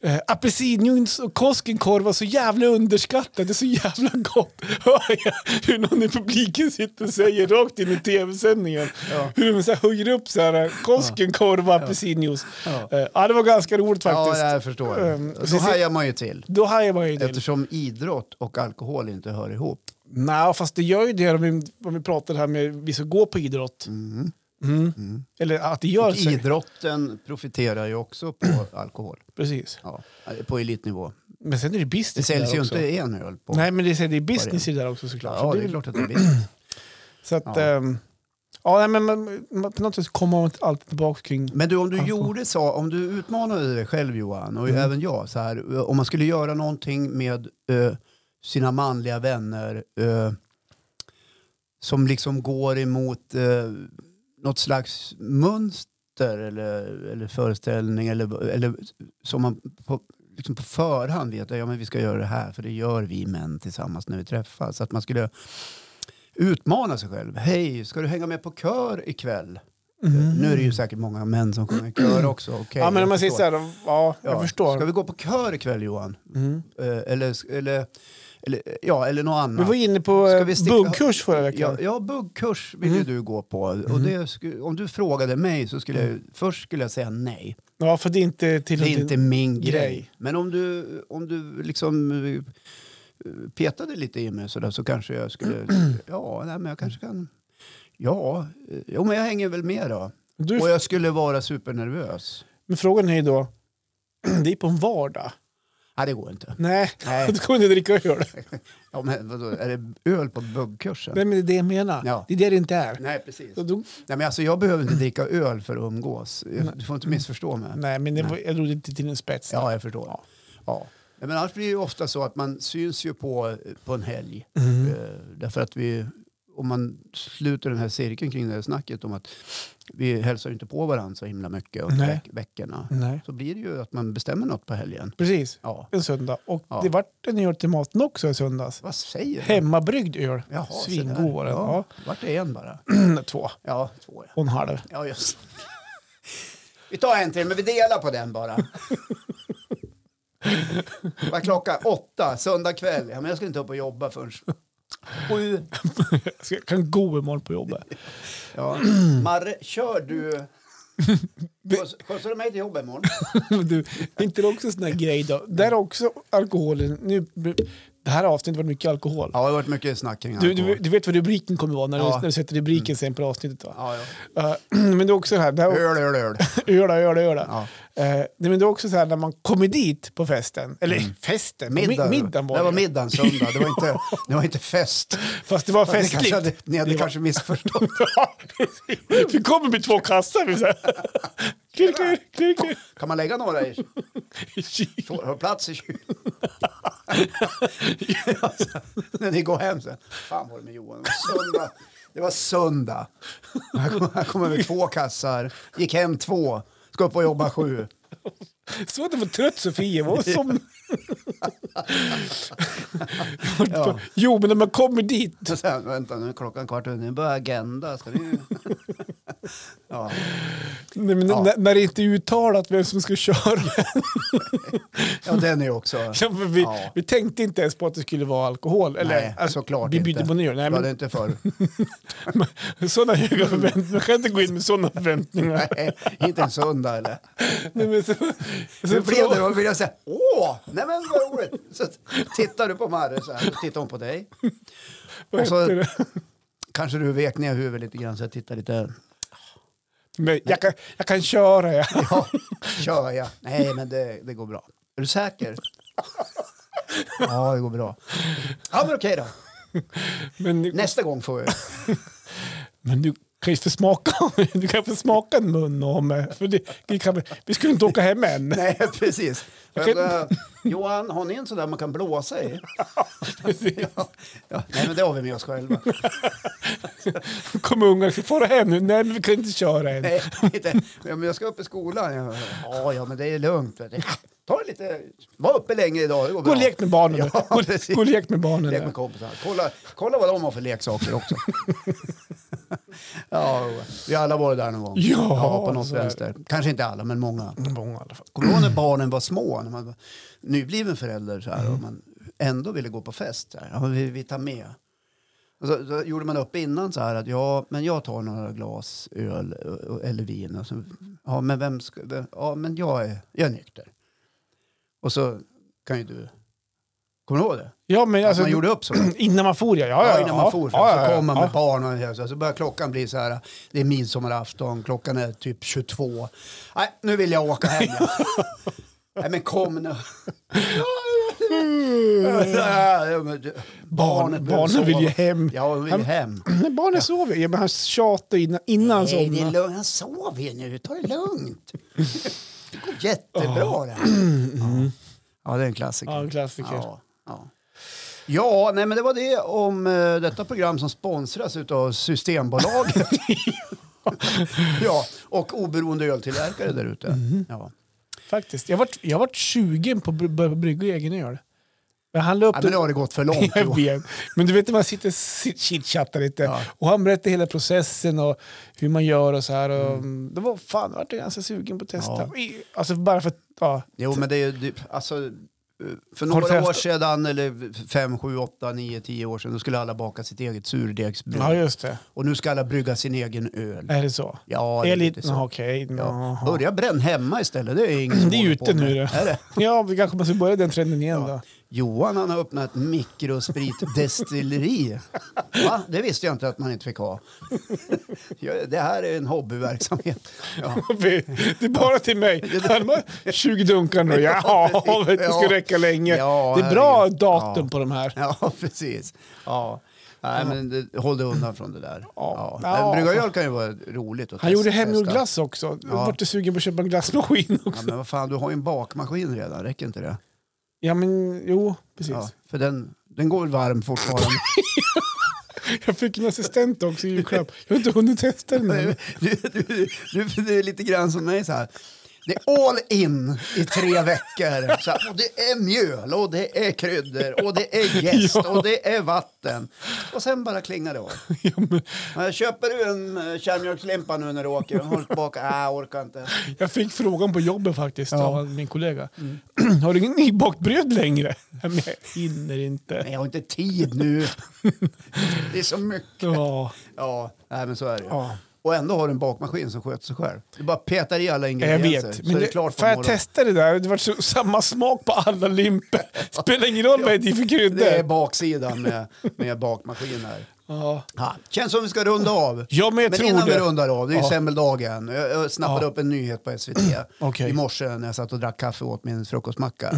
[SPEAKER 2] äh, apelsinjuice och Koskenkorv var så jävla underskattat, det är så jävla gott. Hör jag hur någon i publiken sitter och säger rakt in i tv-sändningen,
[SPEAKER 1] Ja.
[SPEAKER 2] hur de så här höjer upp så här, eh, Koskenkorv och apelsinjuice.
[SPEAKER 1] Ja.
[SPEAKER 2] Eh, Ja, det var ganska roligt
[SPEAKER 1] Ja,
[SPEAKER 2] faktiskt.
[SPEAKER 1] jag förstår.
[SPEAKER 2] Ehm,
[SPEAKER 1] Då
[SPEAKER 2] precis.
[SPEAKER 1] hajar man ju till.
[SPEAKER 2] Då hajar man ju till.
[SPEAKER 1] Eftersom idrott och alkohol inte hör ihop.
[SPEAKER 2] Nej, fast det gör ju det om vi, om vi pratar här med vi ska gå på idrott. Mm. Eller att det gör
[SPEAKER 1] Och
[SPEAKER 2] sig.
[SPEAKER 1] idrotten profiterar ju också på alkohol.
[SPEAKER 2] Precis.
[SPEAKER 1] Ja, på elitnivå.
[SPEAKER 2] Men sen är det
[SPEAKER 1] Det
[SPEAKER 2] business
[SPEAKER 1] säljs
[SPEAKER 2] där
[SPEAKER 1] ju
[SPEAKER 2] också.
[SPEAKER 1] inte en öl på.
[SPEAKER 2] Nej, men det, är- det är business i det där också såklart.
[SPEAKER 1] ja,
[SPEAKER 2] så
[SPEAKER 1] det är
[SPEAKER 2] väl-
[SPEAKER 1] klart att det blir.
[SPEAKER 2] Så att,
[SPEAKER 1] Ja.
[SPEAKER 2] ehm, ja, nej, men man, man, på något sätt kommer man alltid tillbaka kring...
[SPEAKER 1] Men du, om du,
[SPEAKER 2] Alkohol.
[SPEAKER 1] gjorde så, om du utmanade dig själv Johan, och
[SPEAKER 2] Mm.
[SPEAKER 1] även jag, så här, om man skulle göra någonting med eh, sina manliga vänner eh, som liksom går emot uh, något slags mönster eller, eller föreställning eller, eller som man på, liksom på förhand vet att ja, men vi ska göra det här för det gör vi män tillsammans när vi träffas. Så att man skulle utmana sig själv. Hej, ska du hänga med på kör ikväll? Mm. Nu är det ju säkert många män som sjunger kör också. Okej,
[SPEAKER 2] Mm. ja, men
[SPEAKER 1] jag
[SPEAKER 2] om man säger
[SPEAKER 1] förstår.
[SPEAKER 2] så här, ja, jag
[SPEAKER 1] Ja,
[SPEAKER 2] förstår.
[SPEAKER 1] Ska vi gå på kör ikväll Johan?
[SPEAKER 2] Mm.
[SPEAKER 1] Eh, Eller, eller, eller, ja, eller något
[SPEAKER 2] Vi
[SPEAKER 1] annat.
[SPEAKER 2] var inne på
[SPEAKER 1] Ska
[SPEAKER 2] eh,
[SPEAKER 1] vi sticka-
[SPEAKER 2] buggkurs förra veckan.
[SPEAKER 1] Ja, ja, buggkurs vill
[SPEAKER 2] Mm.
[SPEAKER 1] ju du gå på. Och det, sku- om du frågade mig så skulle jag, först skulle jag säga nej.
[SPEAKER 2] Ja, för Mm. det är inte till
[SPEAKER 1] Det är inte min grej.
[SPEAKER 2] grej.
[SPEAKER 1] Men om du, om du liksom eh, petade lite i mig sådär, så kanske jag skulle... ja, nej, men jag kanske kan... Ja, eh, jo, men jag hänger väl med då.
[SPEAKER 2] Du
[SPEAKER 1] Och jag skulle vara supernervös.
[SPEAKER 2] Men frågan är ju då, det är på en vardag.
[SPEAKER 1] Nej, det går inte.
[SPEAKER 2] Nej,
[SPEAKER 1] Nej.
[SPEAKER 2] du kommer inte dricka öl.
[SPEAKER 1] Ja, men vadå, är det öl på buggkursen?
[SPEAKER 2] Nej, men det är det jag menar.
[SPEAKER 1] Ja.
[SPEAKER 2] Det är det det inte är.
[SPEAKER 1] Nej, precis.
[SPEAKER 2] Så då,
[SPEAKER 1] Nej, men alltså, jag behöver inte dricka öl för att umgås. Jag- Du får inte missförstå mig.
[SPEAKER 2] nej, men det var, jag drog det till en spets.
[SPEAKER 1] Ja, jag förstår. Ja. Nej, Men annars blir det ju ofta så att man syns ju på, på en helg.
[SPEAKER 2] Mm.
[SPEAKER 1] Eh, därför att vi, om man sluter den här cirkeln kring det här snacket om att vi hälsar ju inte på varandra så himla mycket under
[SPEAKER 2] Nej.
[SPEAKER 1] veck- veckorna.
[SPEAKER 2] Nej.
[SPEAKER 1] Så blir det ju att man bestämmer något på helgen.
[SPEAKER 2] Precis,
[SPEAKER 1] Ja.
[SPEAKER 2] en söndag. Och
[SPEAKER 1] Ja.
[SPEAKER 2] det vart en öl till maten också i söndags.
[SPEAKER 1] Vad säger du?
[SPEAKER 2] Hemmabryggd öl.
[SPEAKER 1] Jaha, se där.
[SPEAKER 2] Svingod var den.
[SPEAKER 1] Ja.
[SPEAKER 2] Ja.
[SPEAKER 1] Vart är en bara?
[SPEAKER 2] Två
[SPEAKER 1] Ja, två. ja.
[SPEAKER 2] och en halv.
[SPEAKER 1] Ja, just Vi tar en till, men vi delar på den bara. Vad är klockan? Åtta, söndag kväll. Ja, men jag ska inte upp och jobba förrän sju.
[SPEAKER 2] jag ska- kan gå imorgon på jobbet.
[SPEAKER 1] Ja. Marre, kör du Skjuts- Skjutsar du mig till jobbet imorgon?
[SPEAKER 2] Du, är inte det också en sån där grej då? Där också alkoholen. Nu, det här avsnittet var mycket alkohol.
[SPEAKER 1] Ja, det har varit mycket snack kring
[SPEAKER 2] Du, du,
[SPEAKER 1] alkohol.
[SPEAKER 2] du vet vad rubriken kommer vara när, du,
[SPEAKER 1] Ja.
[SPEAKER 2] när du sätter rubriken sen på avsnittet va?
[SPEAKER 1] Ja, ja.
[SPEAKER 2] Eh, men det är också det här, det här
[SPEAKER 1] Öl, öl, öl.
[SPEAKER 2] öla, öla, öla.
[SPEAKER 1] Ja.
[SPEAKER 2] Eh, nej, men det är också så här när man kommer dit på festen, eller festen, middag,
[SPEAKER 1] Middag.
[SPEAKER 2] Mm. middagen var
[SPEAKER 1] det
[SPEAKER 2] det.
[SPEAKER 1] var middagen söndag. Det var inte, det var inte fest.
[SPEAKER 2] Fast det var
[SPEAKER 1] Ni
[SPEAKER 2] festligt.
[SPEAKER 1] kanske hade, ni hade
[SPEAKER 2] Det var-
[SPEAKER 1] kanske missförstått.
[SPEAKER 2] Ja, precis. Vi kommer med två kassar. Vi så här. Klirr, klirr, klirr, klirr.
[SPEAKER 1] Kan man lägga några i?
[SPEAKER 2] Shit.
[SPEAKER 1] Får- Har plats i kylen? Alltså, När ni går hem sen. Fan var det med Johan? Det var söndag. Det var söndag. Han kom, han kom över två kassar. Gick hem två. Ska upp och jobba sju.
[SPEAKER 2] Så att det var trött Sofia var som...
[SPEAKER 1] Ja.
[SPEAKER 2] Jo, men när man kommer dit.
[SPEAKER 1] Och sen, vänta nu är klockan kvart över. Nu börjar Agenda. Ska ni... Ja.
[SPEAKER 2] Nej, men
[SPEAKER 1] Ja.
[SPEAKER 2] när, när det inte är uttalat vem som ska köra.
[SPEAKER 1] ja, den är ju också...
[SPEAKER 2] Ja, men vi,
[SPEAKER 1] Ja.
[SPEAKER 2] vi tänkte inte ens på att det skulle vara alkohol. Eller, Alltså,
[SPEAKER 1] Nej, såklart
[SPEAKER 2] vi
[SPEAKER 1] inte.
[SPEAKER 2] bytte på nyår. Nej,
[SPEAKER 1] Det var det
[SPEAKER 2] men,
[SPEAKER 1] inte förr.
[SPEAKER 2] sådana höga förväntningar. Man kan inte gå in med sådana förväntningar.
[SPEAKER 1] Nej, inte en söndag eller?
[SPEAKER 2] Nej, men så,
[SPEAKER 1] Hur
[SPEAKER 2] så
[SPEAKER 1] blev det? Då vill jag säga åh, nej men vad roligt. Så tittar du på Marre så här, så tittar hon på dig.
[SPEAKER 2] vad
[SPEAKER 1] Och så-
[SPEAKER 2] heter det?
[SPEAKER 1] Kanske du vek ner huvudet lite grann så jag tittar lite.
[SPEAKER 2] Men jag, kan, jag kan köra, ja.
[SPEAKER 1] Ja, kör jag. Nej men det, det går bra. Är du säker? Ja, det går bra. Ja, men okej då.
[SPEAKER 2] Men, du-
[SPEAKER 1] Nästa gång får jag.
[SPEAKER 2] men du kan ju få smaka, du kan få smaka en mun och ha med. För det, vi, kan, vi skulle inte åka hem än.
[SPEAKER 1] Nej, precis.
[SPEAKER 2] Okej.
[SPEAKER 1] Men, eh, Johan, har ni en sån där man kan blåsa i? ja, ja. Nej, men det har vi med oss själva.
[SPEAKER 2] Kommer ungarna ska fara hem nu? Nej, men vi kan inte köra än.
[SPEAKER 1] Nej, inte. Ja, men jag ska upp i skolan. Jag, ja, ja, men det är lugnt. Vet du. Ta det lite, var uppe länge idag, det går
[SPEAKER 2] Gå
[SPEAKER 1] bra.
[SPEAKER 2] och lek med barnen nu.
[SPEAKER 1] Ja,
[SPEAKER 2] Gå-
[SPEAKER 1] precis.
[SPEAKER 2] Gå och lek med barnen
[SPEAKER 1] Lek
[SPEAKER 2] nu.
[SPEAKER 1] med kompisar. Kolla, kolla vad de har för leksaker också. ja, vi har alla varit där någon gång.
[SPEAKER 2] Ja,
[SPEAKER 1] på något
[SPEAKER 2] så är det.
[SPEAKER 1] vänster. Kanske inte alla, men många.
[SPEAKER 2] Många Mm, i alla fall.
[SPEAKER 1] Kommer du ihåg när barnen var små? När man var nybliven förälder så
[SPEAKER 2] Mm.
[SPEAKER 1] här, och man ändå ville gå på fest. Så här. Ja, men vi, vi tar med. Och så, så gjorde man upp innan så här att ja, men jag tar några glas öl och- och- eller vin. Och så, ja, men vem ska, vem, ja, men jag är, jag är nykter. Och så kan ju du... Kommer du ihåg det?
[SPEAKER 2] Ja, men
[SPEAKER 1] Att
[SPEAKER 2] alltså,
[SPEAKER 1] man gjorde upp så.
[SPEAKER 2] innan man for, ja. ja,
[SPEAKER 1] Ja,
[SPEAKER 2] ja
[SPEAKER 1] innan man for fram.
[SPEAKER 2] ja, ja,
[SPEAKER 1] så
[SPEAKER 2] ja,
[SPEAKER 1] kom man
[SPEAKER 2] ja.
[SPEAKER 1] med barn och hälsa. Så börjar klockan bli så här. Det är midsommarafton. Klockan är typ 22. Nej, nu vill jag åka hem. Ja. Nej, men kom nu. Ja, men du-
[SPEAKER 2] Mm. Barn,
[SPEAKER 1] behöver
[SPEAKER 2] barnen vill ju
[SPEAKER 1] sova.
[SPEAKER 2] hem.
[SPEAKER 1] Ja, de vill ju hem.
[SPEAKER 2] Men barnen sover ju. Ja, men han tjatar ju innan, innan han
[SPEAKER 1] Nej, det är
[SPEAKER 2] somnar.
[SPEAKER 1] lugnt. Han sover ju nu. Ta det lugnt. Det går jättebra det här. Ja. Ja, det är en klassiker.
[SPEAKER 2] Ja, en klassiker.
[SPEAKER 1] Ja, ja. ja nej, men det var det om eh, detta program som sponsras av Systembolaget. ja, och oberoende öltillverkare där ute.
[SPEAKER 2] Mhm.
[SPEAKER 1] Ja.
[SPEAKER 2] Faktiskt. Jag vart, jag vart 20 på att bry- börja brygga egen öl. Jag handlade upp
[SPEAKER 1] Nej, men nu har det gått för långt.
[SPEAKER 2] Jag
[SPEAKER 1] Johan.
[SPEAKER 2] vet. Men du vet när man sitter och sit- chitchattar lite.
[SPEAKER 1] Ja.
[SPEAKER 2] Och han berättar hela processen och hur man gör och så här.
[SPEAKER 1] Mm.
[SPEAKER 2] Och Det var fan, jag vart ganska sugen på att testa. I- Alltså bara för att, ja.
[SPEAKER 1] Jo, men det är ju... det- Alltså, eh, för
[SPEAKER 2] Har du
[SPEAKER 1] några år
[SPEAKER 2] testat?
[SPEAKER 1] sedan, eller fem, sju, åtta, nio, tio år sedan, då skulle alla baka sitt eget surdegsbröd.
[SPEAKER 2] ja, just det.
[SPEAKER 1] Och nu ska alla brygga sin egen öl.
[SPEAKER 2] Är det så?
[SPEAKER 1] Ja, det
[SPEAKER 2] är
[SPEAKER 1] är
[SPEAKER 2] lite,
[SPEAKER 1] lite så.
[SPEAKER 2] Nå, okej.
[SPEAKER 1] Ja.
[SPEAKER 2] Ja.
[SPEAKER 1] Börja bränn hemma istället. Det är, ingen som
[SPEAKER 2] Det är ju
[SPEAKER 1] håller på
[SPEAKER 2] ute
[SPEAKER 1] med
[SPEAKER 2] nu
[SPEAKER 1] det.
[SPEAKER 2] det.
[SPEAKER 1] Är det?
[SPEAKER 2] ja, vi kanske måste börja den trenden igen då.
[SPEAKER 1] Johan han har öppnat ett mikrospritdestilleri. Va? Det visste jag inte att man inte fick ha. Ja, Det här är en hobbyverksamhet. Ja.
[SPEAKER 2] Det är bara till mig. Han bara, 20 dunkar nu. Ja, vet du, det ska räcka länge.
[SPEAKER 1] Ja,
[SPEAKER 2] det är bra
[SPEAKER 1] herregud.
[SPEAKER 2] datum
[SPEAKER 1] Ja.
[SPEAKER 2] på de här.
[SPEAKER 1] Ja, precis. Ja. Nej, men det, håll dig undan från det där. Ja.
[SPEAKER 2] Ja.
[SPEAKER 1] Men bryggaröl kan ju vara roligt att
[SPEAKER 2] Han
[SPEAKER 1] test-
[SPEAKER 2] gjorde hemgjord
[SPEAKER 1] testa.
[SPEAKER 2] glass också. Ja. Vart du sugen på att köpa en glassmaskin också?
[SPEAKER 1] Ja, men vad fan, du har ju en bakmaskin redan, räcker inte det?
[SPEAKER 2] Ja, men jo, precis.
[SPEAKER 1] Ja, för den, den går väl varm fortfarande.
[SPEAKER 2] Jag fick en assistent också i julklapp. Jag har inte hunnit testa den än.
[SPEAKER 1] Du, du, du, du, du är lite grann som mig så här. Det är all in i tre veckor. Så här, och det är mjöl och det är kryddor och det är jäst
[SPEAKER 2] Ja.
[SPEAKER 1] och det är vatten. Och sen bara klingar det av.
[SPEAKER 2] Ja, men
[SPEAKER 1] Ja, Köper du en eh, kärnmjölkslimpa nu när du åker? Har du tillbaka? Nej, jag orkar inte.
[SPEAKER 2] Jag fick frågan på jobbet faktiskt
[SPEAKER 1] Ja. Mm.
[SPEAKER 2] av min kollega. Har du ingen nybakt bröd längre? Ja, men jag hinner inte.
[SPEAKER 1] Nej, jag har inte tid nu. Det är så mycket.
[SPEAKER 2] Ja.
[SPEAKER 1] Ja, nej, men så är det ju.
[SPEAKER 2] Ja.
[SPEAKER 1] Och ändå har du en bakmaskin som sköter sig själv. Du bara petar i alla
[SPEAKER 2] Jag
[SPEAKER 1] ingredienser.
[SPEAKER 2] vet.
[SPEAKER 1] alltså, så
[SPEAKER 2] Men
[SPEAKER 1] är det
[SPEAKER 2] det,
[SPEAKER 1] klart
[SPEAKER 2] för jag
[SPEAKER 1] morgonen.
[SPEAKER 2] testa det där? Det var så, samma smak på alla limpor. Spelar ingen roll vad det är för
[SPEAKER 1] Det är
[SPEAKER 2] kryddor.
[SPEAKER 1] baksidan med, med bakmaskiner.
[SPEAKER 2] Ja.
[SPEAKER 1] Ja, känns som vi ska runda av.
[SPEAKER 2] ja, men jag
[SPEAKER 1] Men
[SPEAKER 2] tror
[SPEAKER 1] innan vi
[SPEAKER 2] det.
[SPEAKER 1] rundar av, det är ju
[SPEAKER 2] Ja.
[SPEAKER 1] semmeldagen. Jag, jag snappade
[SPEAKER 2] Ja. Mm,
[SPEAKER 1] upp en nyhet på SVT
[SPEAKER 2] Okej. Mhm.
[SPEAKER 1] i morse när jag satt och drack kaffe och åt min frukostmacka.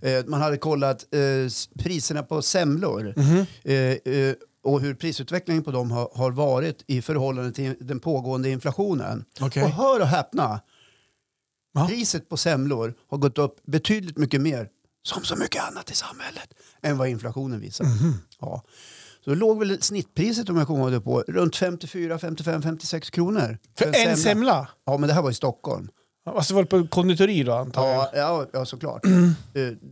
[SPEAKER 1] Eh, man hade kollat eh, s- priserna på semlor
[SPEAKER 2] Mhm.
[SPEAKER 1] eh, eh, och hur prisutvecklingen på dem har, har varit i förhållande till den pågående inflationen.
[SPEAKER 2] Okej.
[SPEAKER 1] Och hör och häpna,
[SPEAKER 2] Ja.
[SPEAKER 1] priset på semlor har gått upp betydligt mycket mer, som så mycket annat i samhället, än vad inflationen visar.
[SPEAKER 2] Mhm.
[SPEAKER 1] Ja. Så då låg väl snittpriset om jag kommer ihåg det på runt 54, 55, 56 kronor.
[SPEAKER 2] För en semla?
[SPEAKER 1] Ja, men det här var i Stockholm.
[SPEAKER 2] Alltså var det på konditori då antar jag?
[SPEAKER 1] Ja, ja, ja såklart. Eh,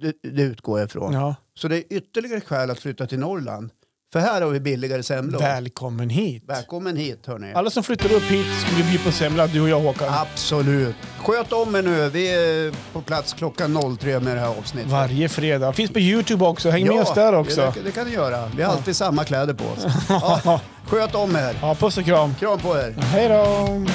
[SPEAKER 1] Det, det utgår jag ifrån.
[SPEAKER 2] Mm. Ja.
[SPEAKER 1] Så det är ytterligare skäl att flytta till Norrland. För här har vi billigare semlor.
[SPEAKER 2] Välkommen hit.
[SPEAKER 1] Välkommen hit hörni.
[SPEAKER 2] Alla som flyttar upp hit skulle bli på semla, du och jag Håkan.
[SPEAKER 1] Absolut. Sköt om er nu. Vi är på plats klockan 03 med det här avsnittet.
[SPEAKER 2] Varje fredag. Finns på Youtube också, häng med oss där också.
[SPEAKER 1] Det, det kan ni göra. Vi har alltid samma kläder på oss. Ja, sköt om er.
[SPEAKER 2] Ja, puss och kram.
[SPEAKER 1] Kram på er.
[SPEAKER 2] Hej då!